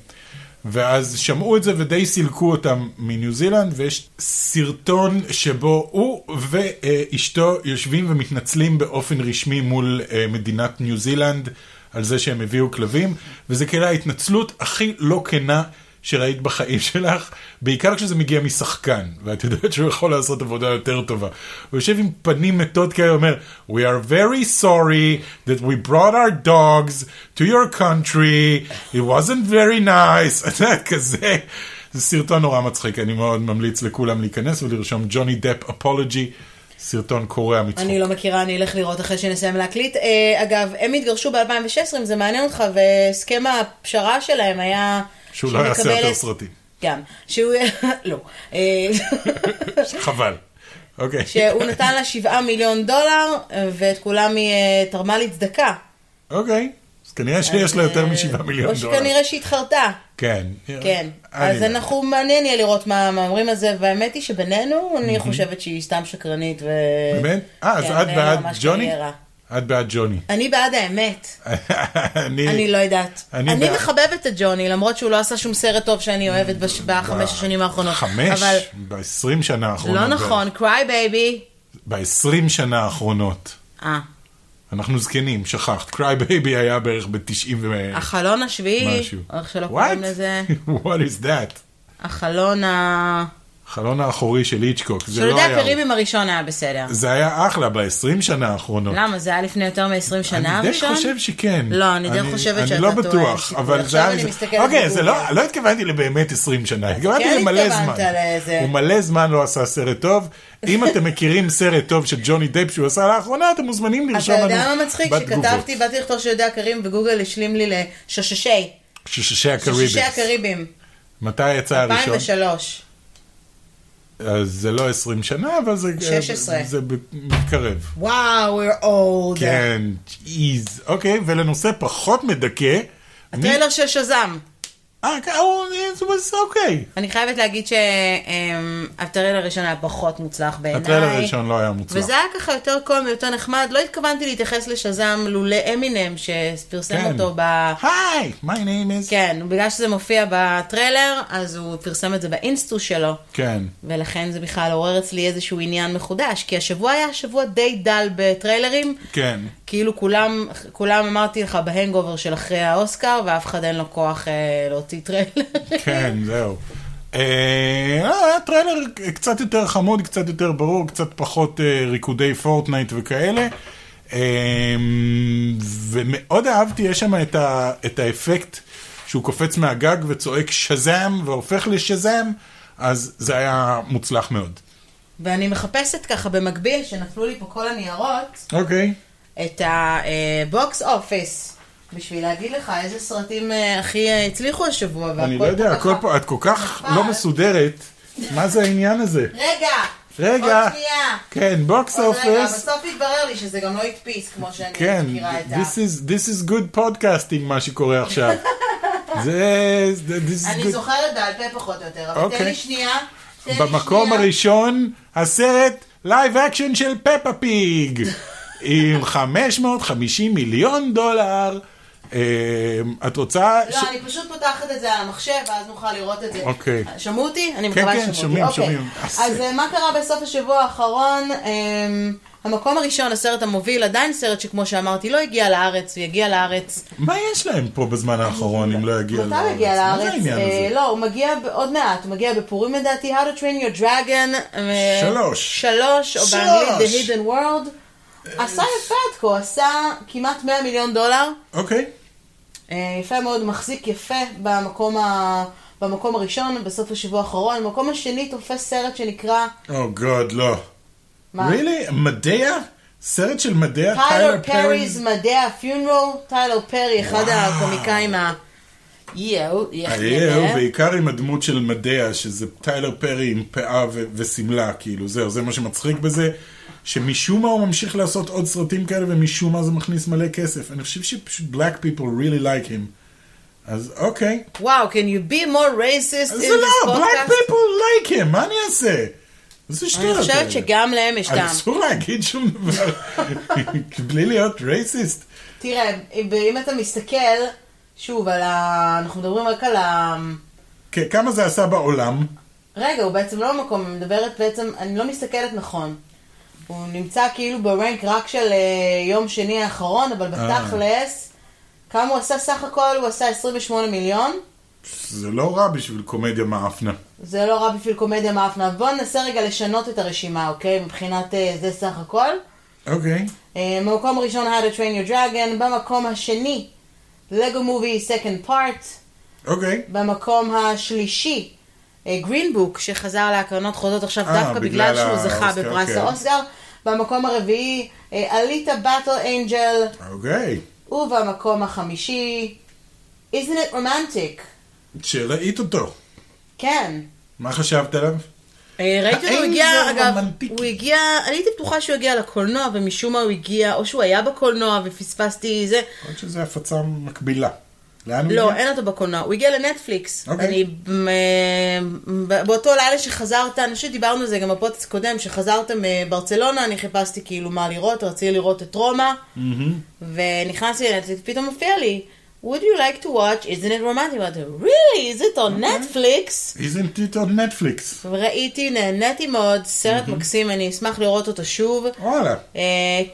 S2: ואז שמעו את זה ודי סילקו אותם מניו זילנד, ויש סרטון שבו הוא ואשתו יושבים ומתנצלים באופן רשמי מול אה, מדינת ניו זילנד על זה שהם הביאו כלבים, וזה כאילו ההתנצלות הכי לא כנה שראית בחיים שלך, בעיקר כשזה מגיע משחקן, ואת יודעת שהוא יכול לעשות עבודה יותר טובה. הוא יושב עם פנים מתות כאלה, אומר, We are very sorry that we brought our dogs to your country, it wasn't very nice, את יודעת, כזה. זה סרטון נורא מצחיק, אני מאוד ממליץ לכולם להיכנס ולרשום ג'וני דפ אפולוגי, סרטון קורע מצחוק.
S1: אני לא מכירה, אני אלך לראות אחרי שנסיים להקליט. אה, אגב, הם התגרשו ב-2016, אם זה מעניין אותך, והסכם הפשרה שלהם היה...
S2: שהוא לא יעשה
S1: מקבלת-
S2: יותר סרטים.
S1: גם. שהוא... לא. אה,
S2: חבל. אוקיי.
S1: שהוא נתן לה 7 מיליון דולר, ואת כולם היא אה, תרמה לצדקה. אה,
S2: אוקיי. אז כנראה שיש לה יותר משבעה מיליון
S1: או
S2: דולר.
S1: שכנראה שהתחרתה.
S2: כן.
S1: כן.
S2: אני
S1: אז
S2: לא.
S1: אנחנו, מעניין יהיה לראות מה מה אומרים על זה, והאמת היא שבינינו, אני חושבת שהיא סתם שקרנית ו...
S2: באמת? אה, אז
S1: כן,
S2: את
S1: ואין לה
S2: בעד
S1: ממש
S2: ג'וני?
S1: קריירה.
S2: את בעד ג'וני.
S1: אני בעד האמת, אני
S2: אני
S1: לא יודעת.
S2: אה, אני
S1: אני
S2: בעד.
S1: מחבבת את ג'וני, למרות שהוא לא עשה שום סרט טוב שאני אוהבת בש- בחמש השנים האחרונות.
S2: אה, חמש?
S1: אבל
S2: ב-20 שנה האחרונות.
S1: לא נכון, cry baby.
S2: ב-20 שנה האחרונות.
S1: אה,
S2: אנחנו זקנים, שכחת. Cry Baby היה בערך ב-90 ומשהו.
S1: החלון השביעי, או איך שלא קוראים
S2: What?
S1: לזה,
S2: What is that?
S1: החלון ה...
S2: החלון האחורי של איצ'קוק. זה לא
S1: שולדי
S2: היה... הוא.
S1: הקריבים הראשון היה בסדר.
S2: זה היה אחלה ב-20 שנה האחרונות.
S1: למה? זה היה לפני יותר מ-20 שנה
S2: אני די
S1: הראשון?
S2: חושב שכן.
S1: לא, אני די חושבת שאתה
S2: אני לא
S1: טועה,
S2: בטוח,
S1: סיכוי.
S2: אבל
S1: עכשיו
S2: זה היה...
S1: אני
S2: מזה-
S1: מסתכלת
S2: אוקיי, זה
S1: בגוגל.
S2: לא, לא התכוונתי לבאמת 20 שנה, התכוונתי
S1: כן
S2: למלא זמן.
S1: התכוונת לזה.
S2: הוא מלא זמן לא עשה סרט טוב. אם אתם מכירים סרט טוב של ג'וני דייפ שהוא עשה לאחרונה, אתם מוזמנים
S1: אתה
S2: לרשום לנו
S1: יודע מה מצחיק?
S2: בתגובות.
S1: שכתבתי, באתי לכתוב שיודע קרים וגוגל השלים לי לשוששי.
S2: ששושי הקריבס.
S1: שישי הקריבים,
S2: מתי יצא הראשון?
S1: 2003.
S2: אז זה לא 20 שנה, אבל זה...
S1: 16.
S2: זה ב- מתקרב.
S1: וואו, we're old.
S2: כן, איז. אוקיי, ולנושא פחות מדכא... מי-
S1: הטריילר של שזאם.
S2: אה, כן, הוא- זה בסדר, אוקיי.
S1: אני חייבת להגיד שהטריילר הראשון היה פחות מוצלח בעיניי.
S2: הטריילר הראשון לא היה מוצלח.
S1: וזה היה ככה יותר קומי, יותר נחמד. לא התכוונתי להתייחס לשזאם לולא אמינם שפרסם
S2: כן.
S1: אותו ב...
S2: היי, my name is...
S1: כן, בגלל שזה מופיע בטריילר, אז הוא פרסם את זה באינסטו שלו,
S2: כן.
S1: ולכן זה בכלל עורר אצלי איזשהו עניין מחודש, כי השבוע היה שבוע די דל בטריילרים,
S2: כן.
S1: כאילו כולם, כולם אמרתי לך בהנגובר של אחרי האוסקר, ואף אחד אין לו כוח אה, להוציא טריילר.
S2: כן, זהו. אה, לא, היה טריילר קצת יותר חמוד, קצת יותר ברור, קצת פחות אה, ריקודי פורטנייט וכאלה. אה, ומאוד אהבתי, יש שם את, ה, את האפקט שהוא קופץ מהגג וצועק שזם והופך לשזם, אז זה היה מוצלח מאוד.
S1: ואני מחפשת ככה במקביל, שנפלו לי פה כל הניירות,
S2: אוקיי.
S1: את הבוקס אופיס, בשביל להגיד לך איזה סרטים אה, הכי אה, הצליחו השבוע, והכל
S2: אני לא יודע,
S1: פה
S2: הכל
S1: ככה.
S2: פה, את כל כך
S1: נפל.
S2: לא מסודרת, מה זה העניין הזה?
S1: רגע!
S2: רגע.
S1: עוד שנייה!
S2: כן, בוקס
S1: עוד רגע,
S2: אופס.
S1: בסוף התברר לי שזה גם לא הדפיס, כמו שאני
S2: כן,
S1: מכירה את ה...
S2: this is, this is good podcasting מה שקורה עכשיו. זה, זה- this is
S1: אני
S2: good.
S1: זוכרת בעל פה פחות או יותר, אבל תן
S2: אוקיי.
S1: לי שנייה. תן לי
S2: במקום
S1: שנייה.
S2: הראשון, הסרט לייב אקשן של פפה פיג, עם 550 מיליון דולר. אה, את רוצה... ש-
S1: לא, אני פשוט פותחת את זה על המחשב, ואז נוכל לראות את זה.
S2: אוקיי.
S1: שמעו אותי? אני
S2: כן,
S1: מקווה
S2: כן,
S1: ששמעו אותי.
S2: שומעים,
S1: אוקיי.
S2: שומעים.
S1: אז אה, מה קרה בסוף השבוע האחרון? אמ, המקום הראשון, הסרט המוביל, עדיין סרט שכמו שאמרתי, לא הגיע לארץ, הוא יגיע לארץ.
S2: מה יש להם פה בזמן האחרון אם לא יגיע
S1: מתי הוא
S2: לארץ?
S1: יגיע
S2: מה
S1: לארץ?
S2: זה העניין
S1: אה,
S2: הזה?
S1: לא, הוא מגיע ב- עוד מעט, הוא מגיע בפורים לדעתי, How to Train Your Dragon. אה,
S2: שלוש.
S1: שלוש, או
S2: שלוש. אה,
S1: באנגלית The Hidden World. עשה יפה עד כה, עשה כמעט 100 מיליון דולר.
S2: אוקיי.
S1: אה, יפה מאוד, מחזיק יפה במקום, ה... במקום הראשון, בסוף השבוע האחרון. במקום השני תופס סרט שנקרא...
S2: או גוד, לא.
S1: מה?
S2: really? מדע? סרט של מדע?
S1: טיילר פרי's מדעי הפיונרול, טיילר פרי, אחד הקומיקאים ה... יואו,
S2: אייהו,
S1: יחי
S2: בעיקר עם הדמות של מדע, שזה טיילר פרי עם פאה ו- ושמלה, כאילו, זהו, זה מה שמצחיק בזה, שמשום מה הוא ממשיך לעשות עוד סרטים כאלה, ומשום מה זה מכניס מלא כסף. אני חושב שפשוט black people really like him. אז אוקיי.
S1: וואו, can you be more racist in
S2: אז
S1: this
S2: זה לא,
S1: podcast?
S2: black people like him, מה אני אעשה? כן, זה שטויות.
S1: אני
S2: האלה.
S1: חושבת שגם להם יש טעם.
S2: אסור להגיד שום דבר, בלי להיות רייסיסט.
S1: תראה, אם- אם אתה מסתכל, שוב, על ה... אנחנו מדברים רק על ה...
S2: כן, כמה זה עשה בעולם?
S1: רגע, הוא בעצם לא במקום, אני מדברת בעצם, אני לא מסתכלת נכון. הוא נמצא כאילו ברנק רק של אה, יום שני האחרון, אבל בתכלס, כמה הוא עשה סך הכל? הוא עשה 28 מיליון.
S2: זה לא רע בשביל קומדיה מאפנה.
S1: זה לא רע בשביל קומדיה מאפנה. בואו ננסה רגע לשנות את הרשימה, אוקיי? מבחינת אה, זה סך הכל.
S2: אוקיי.
S1: אה, במקום הראשון, How to Train Your Dragon. במקום השני, Lego Movie Second Part.
S2: אוקיי.
S1: במקום השלישי, גרינבוק, שחזר להקרנות חוזרות עכשיו
S2: אה,
S1: דווקא
S2: בגלל
S1: בגלל שהוא זכה
S2: האוסקר,
S1: בפרס
S2: כן.
S1: האוסקר. במקום הרביעי, אה, אליטה באטל אנג'ל,
S2: אוקיי.
S1: ובמקום החמישי, Isn't it romantic?
S2: שראית אותו,
S1: כן.
S2: מה חשבת עליו?
S1: אה, ראיתי אותו, הוא
S2: האם
S1: הגיע,
S2: זה
S1: אגב,
S2: רומנטיקי?
S1: הוא הגיע, אני הייתי בטוחה שהוא הגיע לקולנוע, ומשום מה הוא הגיע, או שהוא היה בקולנוע ופספסתי זה.
S2: עוד שזה הפצה מקבילה. לאן הוא
S1: לא,
S2: הגיע?
S1: אין אותו בקולנוע, הוא הגיע לנטפליקס.
S2: אוקיי.
S1: אני, אה, ב- באותו לילה שחזרת, אני חושבת שדיברנו על זה גם בפודקאסט הקודם, שחזרתם מברצלונה, אני חיפשתי כאילו מה לראות, רציתי לראות את רומא, ונכנסתי לנטפליקס, פתאום מופיע לי, would you like to watch, isn't it romantic? אמרתי, really, is it on Netflix?
S2: Isn't it on Netflix?
S1: ראיתי, נהניתי מאוד, סרט מקסים, אני אשמח לראות אותו שוב.
S2: וואלה.
S1: אה,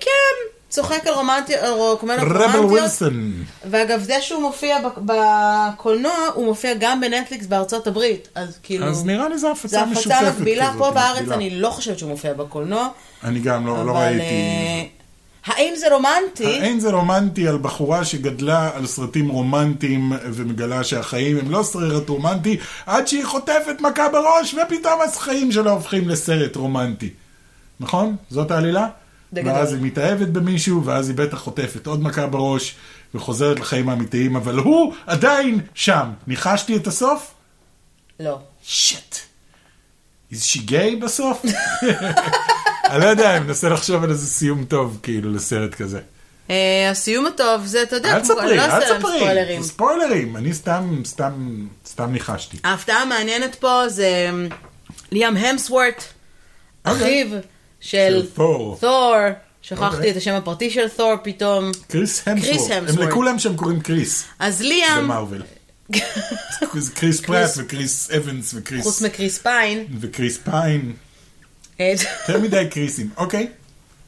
S1: כן, צוחק על רומנטיות, קומדיות
S2: רבל
S1: רומנטיות.
S2: ווילסון.
S1: ואגב, זה שהוא מופיע ב- בקולנוע, הוא מופיע גם בנטפליקס בארצות הברית. אז כאילו,
S2: אז נראה לי זו
S1: זו
S2: הפצה משותפת כזאת.
S1: הפצה מקבילה פה בארץ,
S2: מקבילה.
S1: אני לא חושבת שהוא מופיע בקולנוע.
S2: אני גם לא לא
S1: אבל,
S2: ראיתי.
S1: אה, האם זה רומנטי?
S2: אין זה רומנטי על בחורה שגדלה על סרטים רומנטיים ומגלה שהחיים הם לא סרט רומנטי עד שהיא חוטפת מכה בראש ופתאום החיים שלה הופכים לסרט רומנטי. נכון? זאת העלילה?
S1: בגדול.
S2: ואז היא מתאהבת במישהו ואז היא בטח חוטפת עוד מכה בראש וחוזרת לחיים האמיתיים, אבל הוא עדיין שם. ניחשתי את הסוף?
S1: לא.
S2: שיט. is she gay בסוף? אני לא יודע, אני מנסה לחשוב על איזה סיום טוב, כאילו, לסרט כזה.
S1: אה, הסיום הטוב זה, אתה יודע,
S2: אל
S1: כמו- אני
S2: תספרי,
S1: לא
S2: אל
S1: אעשה להם
S2: תספרי.
S1: ספוילרים.
S2: ספוילרים. אני סתם, סתם, סתם ניחשתי.
S1: ההפתעה המעניינת פה זה אמ, ליאם המסוורט, אחיו של
S2: אוקיי. של תור.
S1: תור, שכחתי
S2: אוקיי.
S1: את השם הפרטי של תור פתאום.
S2: קריס המסוורט. הם
S1: המסוורט.
S2: לכולם שם קוראים קריס.
S1: אז ליאם,
S2: במרוויל. זה קריס פרט וקריס אבנס וקריס...
S1: חוץ מקריס פיין,
S2: וקריס פיין.
S1: אה,
S2: יותר מדי קריסים. אוקיי.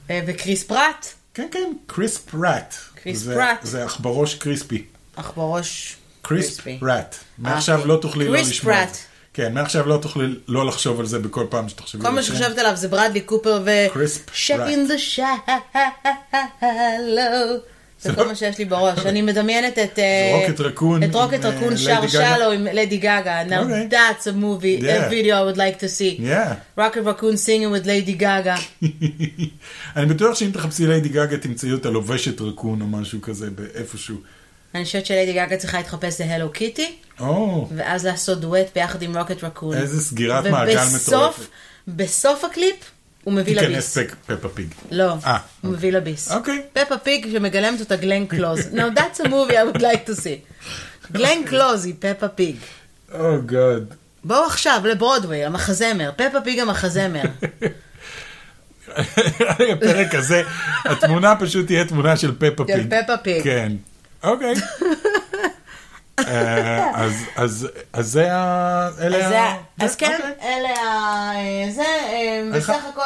S1: אה, וקריס פרט,
S2: כן, כן. קריס פרט.
S1: קריס
S2: זה-
S1: פרט.
S2: זה עכברו שקריספי.
S1: אך בראש
S2: קריס
S1: קריספי. אה, כן.
S2: פרט. מעכשיו לא תוכלי לא
S1: קריס
S2: לשמוע את
S1: פרט.
S2: זה. כן, מעכשיו לא תוכלי לא לחשוב על זה בכל פעם שתחשבי.
S1: כל
S2: על
S1: מה
S2: השם.
S1: שחשבת עליו זה ברדלי קופר ו...
S2: קריס פרט.
S1: שפין דה שלו. זה
S2: זה
S1: כל
S2: לא-
S1: מה שיש לי בראש. אני מדמיינת את... אה,
S2: רוקט רקון
S1: את רוקט
S2: עם,
S1: רקון
S2: אה,
S1: שר
S2: ליידי גגה.
S1: שלו עם לדי גגה. Now
S2: אוקיי.
S1: that's a movie, a
S2: Yeah.
S1: video I would like to see.
S2: Yeah.
S1: רוקט רקון singing with ליידי גגה.
S2: אני בטוח שאם תחפשי ליידי גגה תמצאי אותה לובשת רקון או משהו כזה באיפשהו.
S1: אני חושבת שליידי גגה צריכה להתחפש להלו קיטי,
S2: או,
S1: ואז לעשות דואט ביחד עם רוקט רקון.
S2: איזה סגירת מעגל
S1: ובסוף,
S2: מטורפת.
S1: בסוף הקליפ, הוא מביא לביס.
S2: תיכנס פק- פפה פיג.
S1: לא,
S2: אה,
S1: הוא מביא לביס.
S2: אוקיי.
S1: פפה פיג שמגלמת אותה גלן קלוז. Now that's a movie I would like to see. גלן קלוז היא פפה פיג.
S2: או גאד.
S1: בואו עכשיו לברודוויי, המחזמר. פפה פיג המחזמר.
S2: הפרק הזה, התמונה פשוט תהיה תמונה של פפה
S1: של
S2: פיג.
S1: פפה פיג.
S2: כן. אוקיי. אה, אז- אז אז זה ה... אלה
S1: אז
S2: ה-
S1: זה- אז
S2: זה-
S1: כן,
S2: אוקיי.
S1: אלה ה... זה, אה,
S2: אני
S1: בסך
S2: ח-
S1: הכל...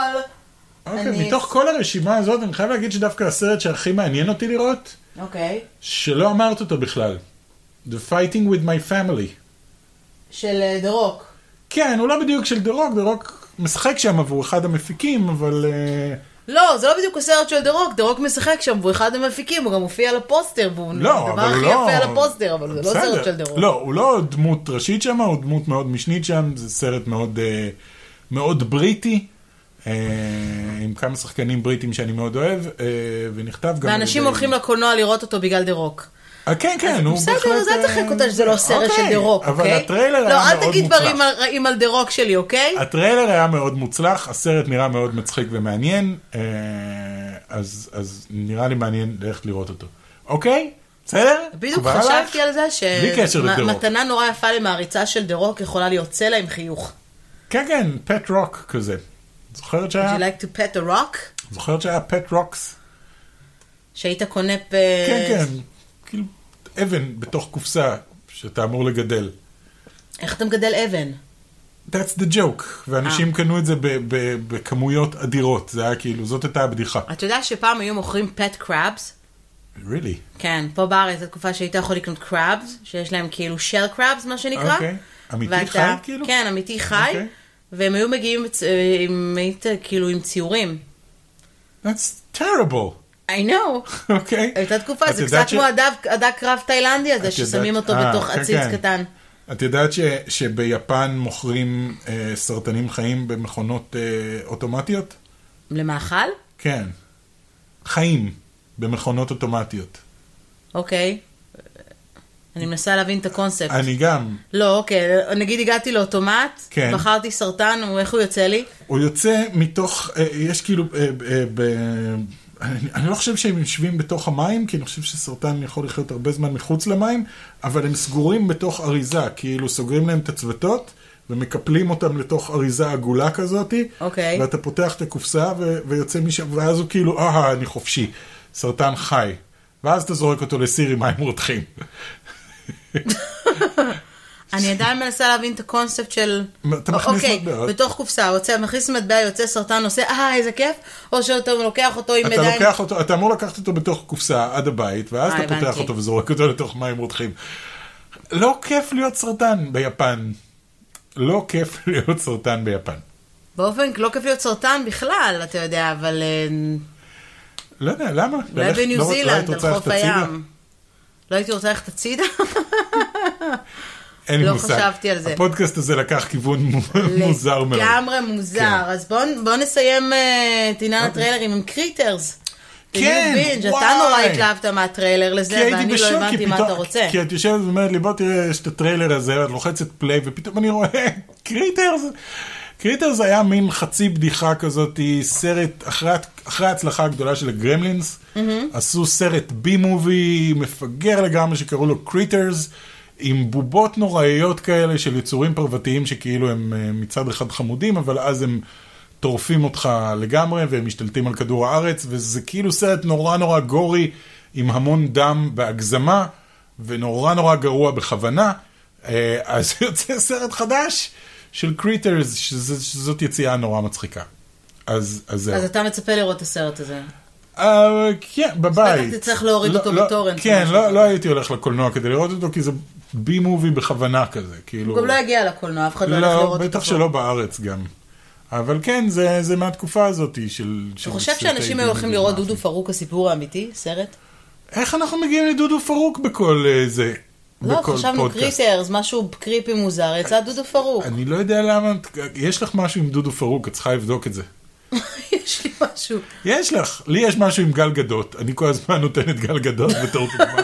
S2: אוקיי,
S1: אני-
S2: מתוך כל הרשימה הזאת, אני חייב להגיד שדווקא הסרט שהכי מעניין אותי לראות,
S1: אוקיי.
S2: שלא אמרת אותו בכלל. The Fighting with My Family.
S1: של אה, דה רוק.
S2: כן, הוא לא בדיוק של דה רוק, דה רוק משחק שם עבור אחד המפיקים, אבל... אה,
S1: לא, זה לא בדיוק הסרט של דה רוק, דה רוק משחק שם, והוא אחד המפיקים, הוא גם הופיע על הפוסטר, והוא
S2: לא,
S1: הדבר
S2: אבל הוא
S1: הכי
S2: לא...
S1: יפה על הפוסטר, אבל זה לא
S2: בסדר.
S1: סרט של דה רוק.
S2: לא, הוא לא דמות ראשית שם, הוא דמות מאוד משנית שם, זה סרט מאוד, אה, מאוד בריטי, אה, עם כמה שחקנים בריטים שאני מאוד אוהב, אה, ונכתב גם... על
S1: ואנשים
S2: ידי-
S1: הולכים לקולנוע לראות אותו בגלל דה רוק.
S2: אה, כן, כן, הוא
S1: בסדר,
S2: בהחלט...
S1: אז אל
S2: אה,
S1: תחק אותה שזה לא סרט של
S2: אוקיי,
S1: דה רוק,
S2: אבל
S1: אוקיי?
S2: הטריילר היה
S1: לא,
S2: מאוד מוצלח.
S1: אל תגיד דברים על- רעים על דה רוק שלי, אוקיי?
S2: הטריילר היה מאוד מוצלח, הסרט נראה מאוד מצחיק ומעניין, אה, אז, אז נראה לי מעניין ללכת לראות אותו. אוקיי? בסדר?
S1: בדיוק
S2: מקובל עלייך?
S1: חשבתי על זה
S2: בלי קשר לדה רוק.
S1: שמתנה נורא יפה למעריצה של דה רוק יכולה להיות צלע עם חיוך.
S2: כן, כן, פט רוק כזה. זוכרת
S1: Would
S2: שהיה?
S1: you like to pet the rock?
S2: זוכרת שהיה פט רוקס?
S1: שהיית קונה פ...
S2: כן, כן. כאילו, אבן בתוך קופסה שאתה אמור לגדל.
S1: איך אתה מגדל אבן?
S2: That's the joke.
S1: אה.
S2: ואנשים קנו את זה ב- ב- בכמויות אדירות. זה היה כאילו, זאת הייתה הבדיחה.
S1: אתה יודע שפעם היו מוכרים פט קראבס?
S2: really?
S1: כן, פה בארץ, זו תקופה שהיית יכול לקנות קראבס, שיש להם כאילו של קראבס, מה שנקרא.
S2: אוקיי. אמיתי
S1: ואתה-
S2: חי, כאילו?
S1: כן, אמיתי חי.
S2: אוקיי.
S1: והם היו מגיעים בצ- אה, עם, היית, כאילו עם ציורים.
S2: That's terrible.
S1: I know.
S2: אוקיי?
S1: הייתה תקופה,
S2: את
S1: זה
S2: יודעת
S1: קצת
S2: ש-
S1: כמו הדג- הדג קרב תאילנדי הזה,
S2: את
S1: ששמים
S2: יודעת-
S1: אותו
S2: אה,
S1: בתוך
S2: כן,
S1: עציץ
S2: כן.
S1: קטן.
S2: את יודעת ש, שביפן מוכרים אה, סרטנים חיים במכונות אה, אוטומטיות?
S1: למאכל?
S2: כן. חיים במכונות אוטומטיות.
S1: אוקיי. אני מנסה להבין את הקונספט.
S2: אני גם,
S1: לא, אוקיי, נגיד הגעתי לאוטומט,
S2: כן.
S1: בחרתי סרטן, הוא- איך הוא יוצא לי?
S2: הוא יוצא מתוך, אה, יש כאילו, אה, אה, ב... אני, אני לא חושב שהם יושבים בתוך המים, כי אני חושב שסרטן יכול לחיות הרבה זמן מחוץ למים, אבל הם סגורים בתוך אריזה, כאילו סוגרים להם את הצוותות. ומקפלים אותם לתוך אריזה עגולה כזאתי,
S1: אוקיי.
S2: ואתה פותח את הקופסה ו- ויוצא משם, ואז הוא כאילו, אהה, אני חופשי, סרטן חי. ואז אתה זורק אותו לסיר עם מים רותחים.
S1: אני עדיין מנסה להבין את הקונספט של...
S2: אתה מכניס
S1: אוקיי,
S2: מטבעות.
S1: בתוך קופסה, יוצא, מכניס מטבע, יוצא סרטן, עושה, אה, איזה כיף, או שאתה לוקח אותו עם
S2: אתה
S1: ידיים...
S2: לוקח אותו, אתה אמור לקחת אותו בתוך קופסה עד הבית, ואז
S1: אה,
S2: אתה פותח
S1: הבנתי.
S2: אותו וזורק אותו לתוך מים רותחים. לא כיף להיות סרטן ביפן. לא כיף להיות סרטן ביפן.
S1: באופן לא כיף להיות סרטן בכלל, אתה יודע, אבל... אה,
S2: לא יודע, למה?
S1: אולי
S2: ללכת-
S1: בניו
S2: לא- לא היית
S1: זילנד, על
S2: רוצה ללכת
S1: חוף
S2: הצידה?
S1: הים. לא הייתי רוצה ללכת הצידה?
S2: אין לי
S1: לא
S2: מושג.
S1: חשבתי על זה.
S2: הפודקאסט הזה לקח כיוון מו- מוזר מאוד.
S1: לגמרי מוזר.
S2: כן. אוקיי.
S1: אז בואו בוא נסיים אה, את עניין הטריילרים עם קריטרס. בדיוק בינג', אתה
S2: כן, וואי.
S1: נורא התלהבת מהטריילר
S2: כי
S1: לזה,
S2: הייתי
S1: ואני לא
S2: בשוק,
S1: הבנתי
S2: כי
S1: מה אתה
S2: פתאום,
S1: רוצה.
S2: כי את יושבת ואומרת לי, בוא תראה, יש את הטריילר הזה, את לוחצת פליי, ופתאום אני רואה, "אה, קריטרס. קריטרס היה מין חצי בדיחה כזאת, סרט, אחרי, הת- אחרי ההצלחה הגדולה של הגרמלינס, עשו סרט בי מובי מפגר לגמרי, שקראו לו קריטרס, עם בובות נוראיות כאלה של יצורים פרוותיים, שכאילו הם אה, מצד אחד חמודים, אבל אז הם... טורפים אותך לגמרי, והם משתלטים על כדור הארץ, וזה כאילו סרט נורא נורא גורי, עם המון דם בהגזמה, ונורא נורא גרוע בכוונה. אה, אז יוצא סרט חדש של קריטרס, שזאת יציאה נורא מצחיקה. אז, אז זהו.
S1: אז אתה מצפה לראות את הסרט הזה.
S2: אה, כן, בבית.
S1: בטח תצטרך להוריד
S2: לא-
S1: אותו
S2: לא-
S1: בטורנט או
S2: כן,
S1: משהו
S2: לא,
S1: כזה.
S2: לא הייתי הולך לקולנוע כדי לראות אותו, כי זה בי מובי בכוונה כזה. כאילו...
S1: הוא גם לא יגיע לקולנוע, אף אחד לא הולך לראות
S2: לא,
S1: אותו.
S2: בטח
S1: פה.
S2: שלא בארץ גם. אבל כן, זה, זה מהתקופה הזאת של...
S1: אתה חושב שאנשים היו הולכים לראות דודו פרוק הסיפור האמיתי? סרט?
S2: איך אנחנו מגיעים לדודו פרוק בכל אה, זה?
S1: לא,
S2: בכל
S1: חשבנו
S2: פודקאסט?
S1: קריטרס, משהו קריפי מוזר, יצא דודו פרוק.
S2: אני לא יודע למה... את- יש לך משהו עם דודו פרוק, את צריכה לבדוק את זה.
S1: יש לי משהו.
S2: יש לך, לי יש משהו עם גל גדות, אני כל הזמן נותן את גל גדות בתור דוגמה,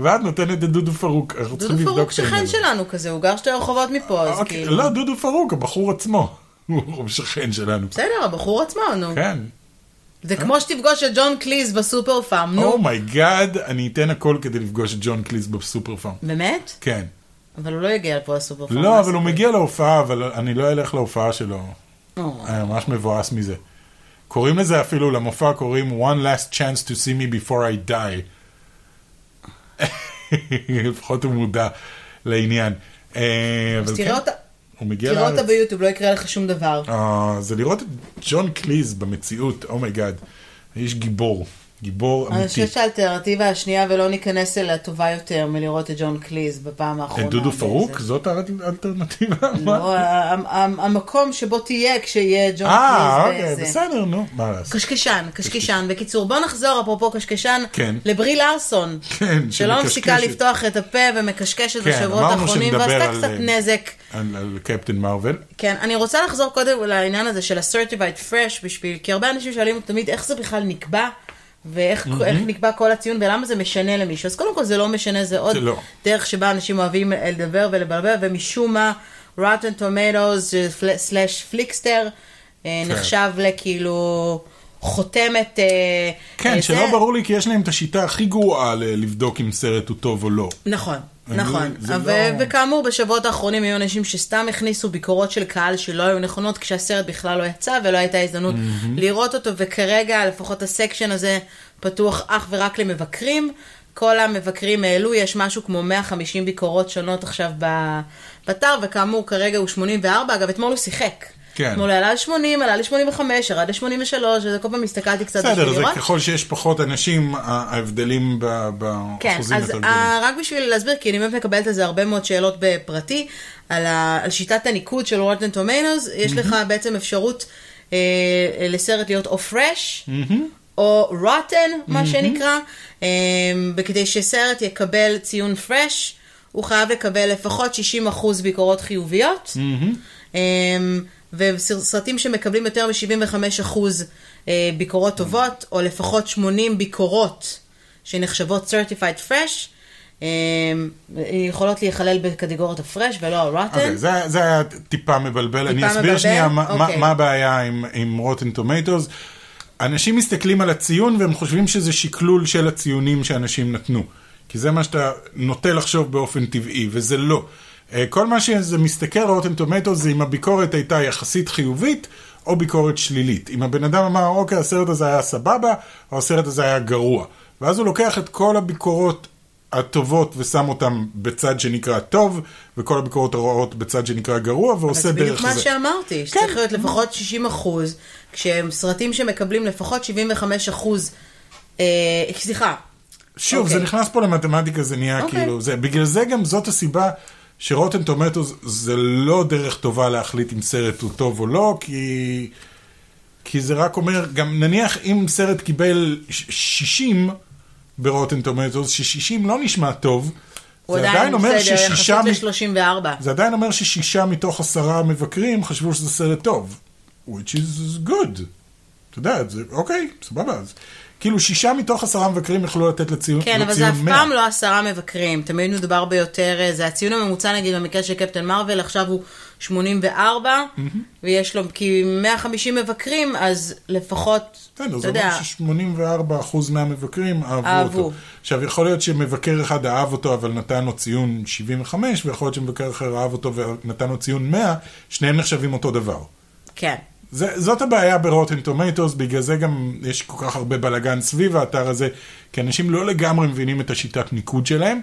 S2: ואת נותנת את דודו פרוק, אנחנו צריכים
S1: דודו פרוק
S2: לבדוק את העניין
S1: שכן
S2: הזה.
S1: שלנו כזה, הוא גר שתי רחובות מפה, אז
S2: אוקיי,
S1: כאילו.
S2: לא, דודו פרוק, הבחור עצמו, הוא שכן שלנו.
S1: בסדר, הבחור עצמו, נו.
S2: כן.
S1: זה כמו שתפגוש את ג'ון קליז בסופר פארם, נו.
S2: אומייגאד, Oh אני אתן הכל כדי לפגוש את ג'ון קליז בסופר פארם.
S1: באמת?
S2: כן.
S1: אבל הוא לא יגיע לפה לסופר פארם.
S2: לא, אבל הוא מגיע להופעה, אבל אני לא אלך להופעה שלו.
S1: או.
S2: אני ממש מבואס מזה. קוראים לזה אפילו, למופע קוראים One Last Chance to see me before I die. לפחות הוא מודע לעניין. אה, אבל
S1: אז
S2: כן,
S1: תראה אותה.
S2: הוא מגיע
S1: תראה אותה
S2: לארץ.
S1: ביוטיוב, לא יקרה לך שום דבר.
S2: אה, זה לראות את ג'ון קליז במציאות, oh אומייגאד. האיש גיבור, גיבור
S1: אני
S2: אמיתי.
S1: חושבת שהאלטרנטיבה השנייה, ולא ניכנס אליה, טובה יותר מלראות את ג'ון קליז בפעם האחרונה.
S2: את אה, דודו
S1: באיזה-
S2: פרוק? זאת האלטרנטיבה?
S1: לא, ה- ה- המקום שבו תהיה כשיהיה ג'ון
S2: אה,
S1: קליז.
S2: אוקיי,
S1: באיזה-
S2: בסדר, נו, מה לעשות.
S1: קשקשן, קשקשן. בקיצור, בוא נחזור, אפרופו קשקשן,
S2: כן.
S1: לברי לארסון. שלא
S2: כן, שמקשקשת.
S1: מפסיקה לפתוח את הפה ומקשקשת
S2: כן,
S1: בשבועות
S2: אמרנו
S1: האחרונים,
S2: שנדבר
S1: ועשתה
S2: על- אה,
S1: קצת נזק.
S2: על על קפטן מרוויל.
S1: כן, אני רוצה לחזור קודם לעניין הזה של ה-certified fresh בשביל, כי הרבה אנשים שואלים אותי תמיד איך זה בכלל נקבע, ואיך איך נקבע כל הציון, ולמה זה משנה למישהו. אז קודם כל זה לא משנה, זה עוד
S2: זה לא.
S1: דרך שבה אנשים אוהבים אה, לדבר ולבלבל, ומשום מה, rotten tomatoes אה, slash פליקסטר
S2: כן.
S1: אה, נחשב לכאילו חותמת... אה,
S2: כן,
S1: אה,
S2: שלא
S1: זה-
S2: ברור לי כי יש להם את השיטה הכי גרועה ל- לבדוק אם סרט הוא טוב או לא.
S1: נכון,
S2: אני-
S1: נכון.
S2: זה
S1: ו-
S2: לא-
S1: וכאמור, בשבועות האחרונים היו אנשים שסתם הכניסו ביקורות של קהל שלא היו נכונות, כשהסרט בכלל לא יצא ולא הייתה הזדמנות לראות אותו, וכרגע לפחות הסקשן הזה פתוח אך ורק למבקרים. כל המבקרים העלו, יש משהו כמו 150 ביקורות שונות עכשיו ב- באתר, וכאמור, כרגע הוא 84, אגב, אתמול הוא שיחק.
S2: כן.
S1: אתמול הוא עלה ל-80, עלה ל-85, ירד ל-83, וזה כל פעם הסתכלתי קצת
S2: בסדר,
S1: בשביל
S2: זה
S1: לראות.
S2: ככל שיש פחות אנשים, ה- ההבדלים ב-
S1: כן,
S2: באחוזים
S1: אז
S2: יותר גדולים.
S1: אה, רק בשביל להסביר, כי אני באמת מקבלת על זה הרבה מאוד שאלות בפרטי, על, ה, על שיטת הניקוד של רוטן טומנוס, יש לך בעצם אפשרות אה, לסרט להיות או fresh, או rotten, מה שנקרא, אה, וכדי שסרט יקבל ציון fresh, הוא חייב לקבל לפחות 60% ביקורות חיוביות. אה, וסרטים שמקבלים יותר מ-75% אה, ביקורות טובות, או לפחות 80 ביקורות שנחשבות certified fresh, אמ, יכולות להיכלל בקטגוריות ה-fresh ולא ה-rotten.
S2: אוקיי, זה זה היה טיפה מבלבל, אני אסביר
S1: מבלבל?
S2: שנייה מה- מה
S1: אוקיי.
S2: מה הבעיה עם- עם Rotten Tomatoes. אנשים מסתכלים על הציון והם חושבים שזה שקלול של הציונים שאנשים נתנו. כי זה מה שאתה נוטה לחשוב באופן טבעי, וזה לא. אה, כל מה שזה מסתכל על Rotten Tomatoes זה אם הביקורת הייתה יחסית חיובית, או ביקורת שלילית. אם הבן אדם אמר, אוקיי, הסרט הזה היה סבבה, או הסרט הזה היה גרוע. ואז הוא לוקח את כל הביקורות הטובות ושם אותן בצד שנקרא טוב, וכל הביקורות הרעות בצד שנקרא גרוע, ועושה
S1: זה בדיוק
S2: דרך
S1: מה
S2: זה.
S1: שאמרתי,
S2: כן.
S1: שצריך להיות לפחות 60 אחוז, כשהם סרטים שמקבלים לפחות 75 אחוז, אה, סליחה,
S2: שוב,
S1: אוקיי.
S2: זה נכנס פה למתמטיקה, זה נהיה
S1: אוקיי.
S2: כאילו, זה, בגלל זה גם זאת הסיבה שרוטן טומטוס זה לא דרך טובה להחליט אם סרט הוא טוב או לא, כי, כי זה רק אומר, גם נניח אם סרט קיבל ש- 60 ברוטן טומטוס, ש-60 לא נשמע טוב,
S1: הוא
S2: זה
S1: עדיין
S2: עדיין אומר
S1: בסדר,
S2: ששישה...
S1: יחסית
S2: מ-
S1: ל-34.
S2: זה עדיין אומר ששישה מתוך עשרה מבקרים חשבו שזה סרט טוב. which is good. אתה יודע, זה אוקיי, סבבה. אז. כאילו שישה מתוך עשרה מבקרים יכלו לתת לציון
S1: כן, אבל זה
S2: לציון
S1: אף
S2: 100.
S1: פעם לא עשרה מבקרים, תמיד מדובר ביותר, אה, זה הציון הממוצע נגיד במקרה של קפטן מרוויל, עכשיו הוא 84, ויש לו כ-150 מבקרים, אז לפחות,
S2: כן, אז
S1: אתה
S2: זה אומר
S1: יודע,
S2: ש-84% מהמבקרים אהבו,
S1: אהבו.
S2: אותו. עכשיו, יכול להיות שמבקר אחד אהב אותו, אבל נתן לו ציון 75, ויכול להיות שמבקר אחר אהב אותו ונתן לו ציון 100, שניהם נחשבים אותו דבר.
S1: כן.
S2: זה, זאת הבעיה ברוטן טומטוס, בגלל זה גם יש כל כך הרבה בלאגן סביב האתר הזה, כי אנשים לא לגמרי מבינים את השיטת ניקוד שלהם.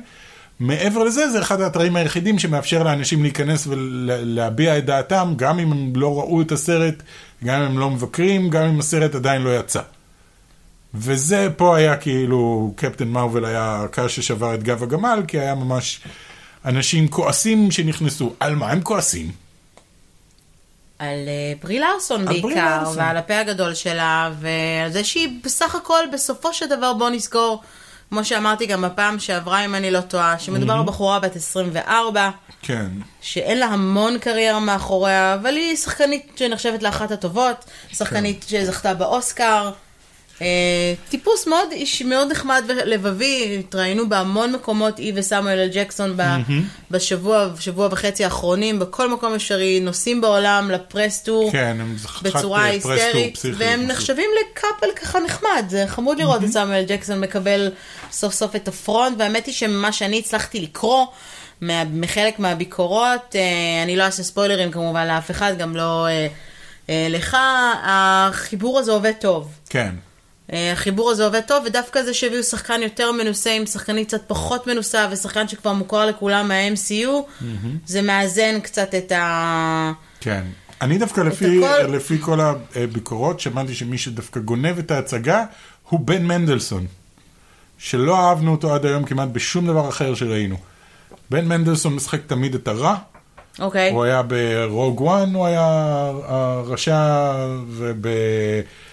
S2: מעבר לזה, זה אחד האתרים היחידים שמאפשר לאנשים להיכנס ולהביע את דעתם, גם אם הם לא ראו את הסרט, גם אם הם לא מבקרים, גם אם הסרט עדיין לא יצא. וזה פה היה כאילו, קפטן מרוויל היה הקש ששבר את גב הגמל, כי היה ממש אנשים כועסים שנכנסו. על מה הם כועסים?
S1: על אה, ברי לארסון
S2: ברי
S1: בעיקר,
S2: לארסון.
S1: ועל הפה הגדול שלה, ועל זה שהיא בסך הכל, בסופו של דבר, בוא נזכור, כמו שאמרתי גם בפעם שעברה, אם אני לא טועה, שמדובר בבחורה בת 24,
S2: כן.
S1: שאין לה המון קריירה מאחוריה, אבל היא שחקנית שנחשבת לאחת הטובות, שחקנית שזכתה באוסקר. אה, טיפוס מאוד איש מאוד נחמד ולבבי, התראיינו בהמון מקומות, היא וסמואל אל ג'קסון ב- בשבוע, שבוע וחצי האחרונים, בכל מקום אפשרי, נוסעים בעולם לפרסטור.
S2: כן, הם חתיכת
S1: בצורה
S2: פרס טור
S1: היסטרית,
S2: פסיכי,
S1: והם
S2: פשוט.
S1: נחשבים לקאפל ככה נחמד, זה חמוד לראות את סמואל ג'קסון מקבל סוף סוף את הפרונט, והאמת היא שממה שאני הצלחתי לקרוא מה- מחלק מהביקורות, אה, אני לא אעשה ספוילרים כמובן לאף אחד, גם לא אה, אה, לך, החיבור הזה עובד טוב.
S2: כן.
S1: אה, החיבור הזה עובד טוב, ודווקא זה שהביאו שחקן יותר מנוסה עם שחקנית קצת פחות מנוסה, ושחקן שכבר מוכר לכולם מה-MCU, זה מאזן קצת את ה...
S2: כן. אני דווקא לפי,
S1: הכל-
S2: לפי כל הביקורות, שמעתי שמי שדווקא גונב את ההצגה הוא בן מנדלסון, שלא אהבנו אותו עד היום כמעט בשום דבר אחר שראינו. בן מנדלסון משחק תמיד את הרע,
S1: אוקיי.
S2: הוא היה ברוג וואן, הוא היה הרשע, וב...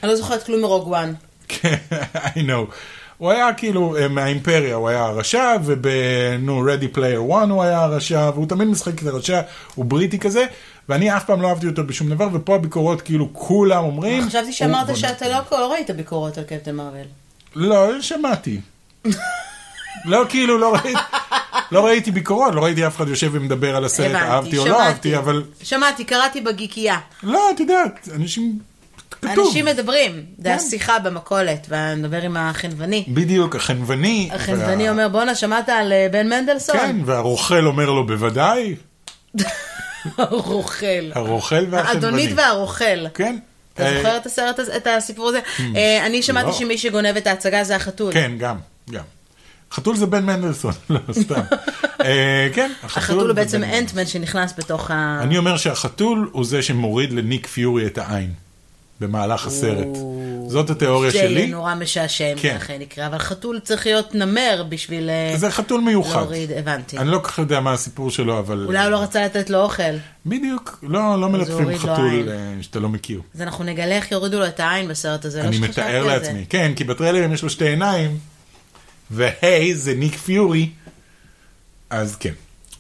S1: אני לא זוכרת כלום מרוג וואן.
S2: כן, I know. הוא היה כאילו אה, מהאימפריה, הוא היה הרשע, וב... נו, Ready Player One הוא היה הרשע, והוא תמיד משחק את הרשע, הוא בריטי כזה, ואני אף פעם לא אהבתי אותו בשום דבר, ופה הביקורות כאילו כולם אומרים...
S1: אה, חשבתי
S2: הוא-
S1: שאמרת שאתה לא לא ראית ביקורות על קפטן מרוויל.
S2: לא, שמעתי. לא, כאילו, לא ראיתי... לא ראיתי ביקורות, לא ראיתי אף אחד יושב ומדבר על הסרט, אהבתי או לא אהבתי, אבל...
S1: שמעתי, קראתי בגיקייה.
S2: לא, את יודעת, אנשים... כתוב.
S1: אנשים מדברים, זה
S2: כן.
S1: השיחה במכולת, ואני מדבר עם החנווני.
S2: בדיוק, החנווני.
S1: החנווני
S2: וה-
S1: אומר, בואנה, שמעת על אה, בן מנדלסון?
S2: כן, והרוכל אומר לו בוודאי,
S1: הרוכל.
S2: הרוכל והחנווני.
S1: האדונית והרוכל.
S2: כן.
S1: אתה
S2: אה,
S1: זוכר את הסרט הזה, את הסיפור הזה? אה, אני שמעתי
S2: לא.
S1: שמי שגונב את ההצגה זה החתול.
S2: כן, גם, גם. חתול זה בן מנדלסון, לא, סתם. אה, כן,
S1: החתול הוא
S2: זה
S1: בעצם
S2: בן-
S1: אנטמן שנכנס בתוך ה...
S2: אני אומר שהחתול הוא זה שמוריד לניק פיורי את העין במהלך הסרט. זאת התיאוריה
S1: זה יהיה
S2: שלי.
S1: נורא משעשע אם
S2: כן.
S1: זה אכן יקרה, אבל חתול צריך להיות נמר בשביל... אה,
S2: זה חתול מיוחד.
S1: להוריד, הבנתי.
S2: אני לא כל כך יודע מה הסיפור שלו, אבל...
S1: אולי הוא לא רצה לתת לו אוכל,
S2: בדיוק, לא לא מלטפים
S1: הוריד לו עין.
S2: חתול אה, שאתה לא מכיר.
S1: אז אנחנו נגלה איך יורידו לו את העין בסרט הזה, לא
S2: אני
S1: שחשבתי
S2: מתאר
S1: על זה.
S2: לעצמי. כן, כי בטריילרים יש לו שתי עיניים, והי זה ניק פיורי, אז כן.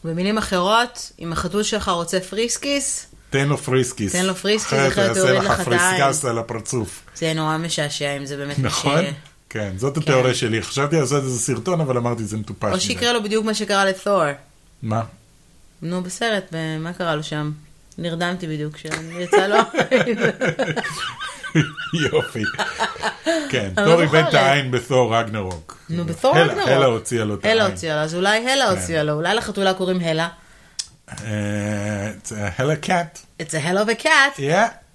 S1: במילים אחרות, אם החתול שלך רוצה פריסקיס,
S2: תן לו פריסקיס.
S1: תן לו פריסקיס,
S2: אחרת
S1: אחרת
S2: הוא יעשה
S1: יוריד לך
S2: לך
S1: את העין.
S2: פריסקס על הפרצוף.
S1: זה יהיה נורא משעשע אם זה באמת...
S2: נכון?
S1: ש-
S2: כן, זאת התיאוריה שלי. חשבתי לעשות איזה סרטון, אבל אמרתי זה מטופש.
S1: או
S2: מדי."
S1: שיקרה לו בדיוק מה שקרה לתור.
S2: מה?
S1: נו, בסרט, ב- מה קרה לו שם? נרדמתי בדיוק כשיצא לו.
S2: יופי. כן,
S1: אני לא
S2: תור איבד את
S1: זוכרת.
S2: העין בתור רגנרוק.
S1: נו, בתור
S2: הלה-
S1: רגנרוק.
S2: הלה הוציאה לו את העין. כן.
S1: הלה הוציאה לו, אז אולי הלה הוציאה לו, אולי לחתולה קוראים הלה.
S2: אה, it's a הלה קאט.
S1: It's a hell of a cat.
S2: יא,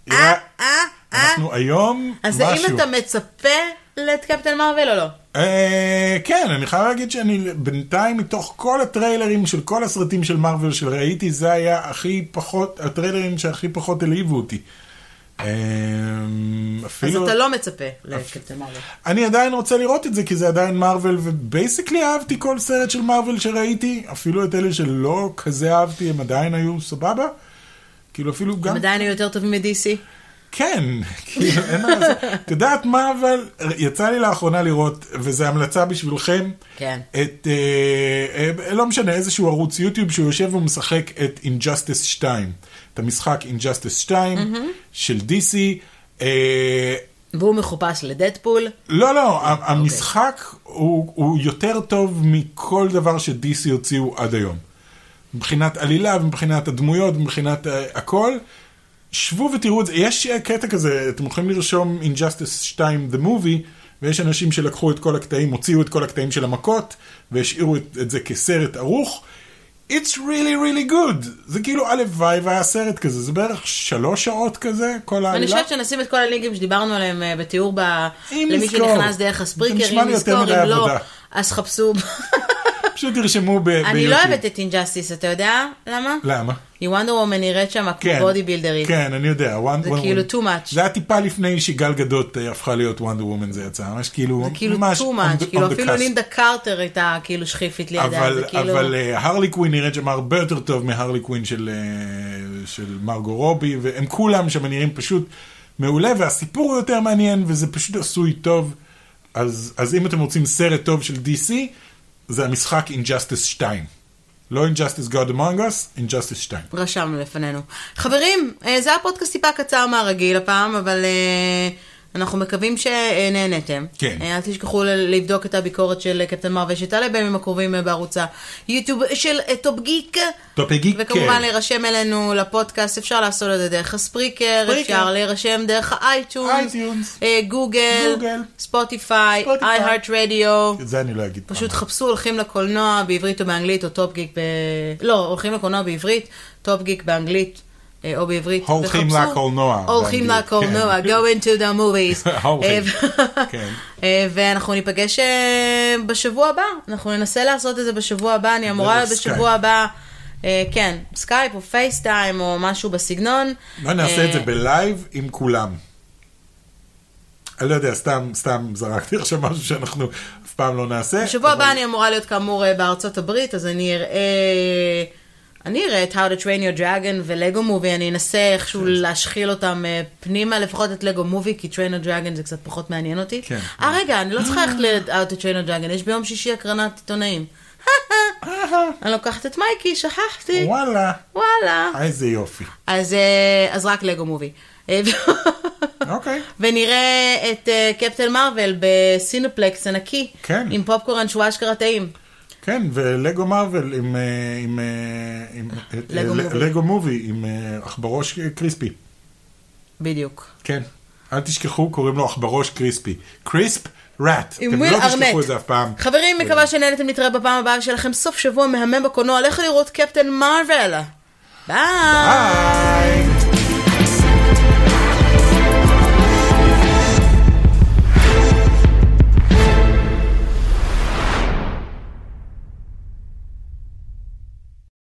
S2: יא.
S1: אה, אה, אה.
S2: אנחנו היום
S1: אז
S2: משהו.
S1: האם אתה מצפה לקפטן מרוויל או לא?
S2: אה, כן, אני חייב להגיד שאני בינתיים מתוך כל הטריילרים של כל הסרטים של מארוול שראיתי, זה היה הכי פחות, הטריילרים שהכי פחות העליבו אותי. אה,
S1: אז
S2: אפילו...
S1: אתה לא מצפה לקפטן מרוויל.
S2: אני עדיין רוצה לראות את זה, כי זה עדיין מארוול, ובייסקלי אהבתי כל סרט של מארוול שראיתי, אפילו את אלה שלא כזה אהבתי, הם עדיין היו סבבה. כאילו אפילו גם...
S1: הם עדיין היו יותר טובים מ-DC.
S2: כן, כאילו, אין מה לעשות. את יודעת מה, אבל יצא לי לאחרונה לראות, וזו המלצה בשבילכם,
S1: כן.
S2: את, אה, אה, לא משנה, איזשהו ערוץ יוטיוב שהוא יושב ומשחק את Injustice 2, את המשחק Injustice 2 של DC. אה,
S1: והוא מחופש לדדפול.
S2: לא, לא, ה-
S1: אוקיי.
S2: המשחק הוא, הוא יותר טוב מכל דבר ש-DC הוציאו עד היום. מבחינת עלילה, מבחינת הדמויות, מבחינת uh, הכל. שבו ותראו את זה, יש אה, קטע כזה, אתם יכולים לרשום Injustice 2 The Movie, ויש אנשים שלקחו את כל הקטעים, הוציאו את כל הקטעים של המכות, והשאירו את, את זה כסרט ערוך. It's really really good. זה כאילו הלוואי והיה סרט כזה, זה בערך שלוש שעות כזה, כל העלילה.
S1: אני חושבת שנשים את כל הלינקים שדיברנו עליהם אה, בתיאור ב...
S2: לא- אם
S1: למי
S2: נזכור.
S1: שנכנס דרך
S2: זה
S1: הספריקר,
S2: נשמע
S1: אם
S2: לי יותר
S1: נזכור,
S2: מדי
S1: אם לא,
S2: עבודה.
S1: אז חפשו. ב-
S2: פשוט תרשמו ב- ביוטיוב.
S1: אני לא אוהבת את אינג'סטיס, אתה יודע למה?
S2: למה?
S1: היא וונדר וומן נראית שם כמו בודי בילדרית.
S2: כן, אני יודע. One,
S1: זה
S2: One
S1: כאילו
S2: Woman.
S1: too much.
S2: זה היה טיפה לפני שיגאל גדות אה, הפכה להיות וונדר וומן זה יצא, ממש כאילו,
S1: זה כאילו
S2: ממש
S1: too
S2: on the-
S1: much, כאילו
S2: on the
S1: אפילו
S2: cusp.
S1: לינדה קרטר הייתה כאילו שכיפית לידה,
S2: אבל,
S1: זה כאילו...
S2: אבל אה, הרלי קווין נראית שם הרבה יותר טוב מהרלי קווין של, אה, של מרגו רובי, והם כולם שם נראים פשוט מעולה, והסיפור הוא יותר מעניין, וזה פשוט עשוי טוב. אז, אז אם אתם רוצים סרט טוב של DC, זה המשחק אינג'סטיס 2. לא אינג'סטיס God Among Us, אינג'סטיס 2.
S1: רשמנו לפנינו. חברים, אה, זה היה פודקאסט טיפה קצר מהרגיל הפעם, אבל אה, אנחנו מקווים שנהנתם.
S2: כן.
S1: אה, אל תשכחו ל- לבדוק את הביקורת של אה, קפטן מרוויל שתעלה בימים הקרובים אה, בערוץ היוטיוב של אה, טופ גיק.
S2: טופ גיק,
S1: וכמובן
S2: כן.
S1: להירשם אלינו לפודקאסט, אפשר לעשות את זה דרך הספריקר,
S2: ספריקר.
S1: אפשר להירשם דרך האייטיונס,
S2: אייטיונס.
S1: אה, גוגל,
S2: גוגל.
S1: ספוטיפיי,
S2: ספוטיפיי.
S1: איי-הארט רדיו.
S2: את זה אני לא אגיד.
S1: פשוט חפשו הולכים לקולנוע בעברית או באנגלית, או טופ גיק ב... לא, הולכים לקולנוע בעברית, טופ גיק באנגלית. אה, או בעברית,
S2: הולכים
S1: וחפשו-
S2: לקולנוע
S1: הולכים
S2: באנגלית,
S1: לקולנוע,
S2: כן.
S1: go into the movies.
S2: הולכים,
S1: אה,
S2: כן.
S1: אה, ואנחנו ניפגש אה, בשבוע הבא, אנחנו ננסה לעשות את זה בשבוע הבא, אני אמורה
S2: דרך
S1: בשבוע
S2: סקייפ.
S1: הבא, אה, כן, סקייפ או פייסטיים או משהו בסגנון.
S2: בוא נעשה את זה
S1: אה,
S2: בלייב עם כולם. אני לא יודע, סתם, סתם זרקתי עכשיו משהו שאנחנו אף פעם לא נעשה.
S1: בשבוע
S2: אבל-
S1: הבא אני אמורה להיות כאמור אה, בארצות הברית, אז אני אראה... אני אראה את How to Train Your Dragon ולגו מובי, אני אנסה
S2: כן.
S1: איכשהו להשחיל אותם אה, פנימה, לפחות את לגו מובי, כי Train Your Dragon זה קצת פחות מעניין אותי.
S2: כן.
S1: אה, רגע, אני לא צריכה ללכת ל-How to Train Your Dragon, יש ביום שישי הקרנת עיתונאים. אני לוקחת את מייקי, שכחתי,
S2: וואלה,
S1: וואלה.
S2: איזה יופי.
S1: אז אה, אז רק לגו מובי. אה, ו-
S2: אוקיי.
S1: ונראה את אה, קפטן מרוויל בסינופלקס ענקי.
S2: כן.
S1: עם פופקורן שהוא אשכרה טעים.
S2: כן, ולגו מארוול עם... אה, עם, אה, עם אה,
S1: לגו
S2: אה,
S1: מובי.
S2: לגו מובי עם אה, עכברוש קריספי.
S1: בדיוק.
S2: כן. אל תשכחו, קוראים לו עכברוש קריספי. קריספ ראט.
S1: עם
S2: אתם
S1: וויל
S2: לא
S1: ארנט.
S2: תשכחו את זה אף פעם. אה.
S1: חברים, מקווה שנהנתם נתראה בפעם הבאה, ושיהיה לכם סוף שבוע מהמם בקולנוע. לכו לראות קפטן מרוויל. ביי.
S2: ביי.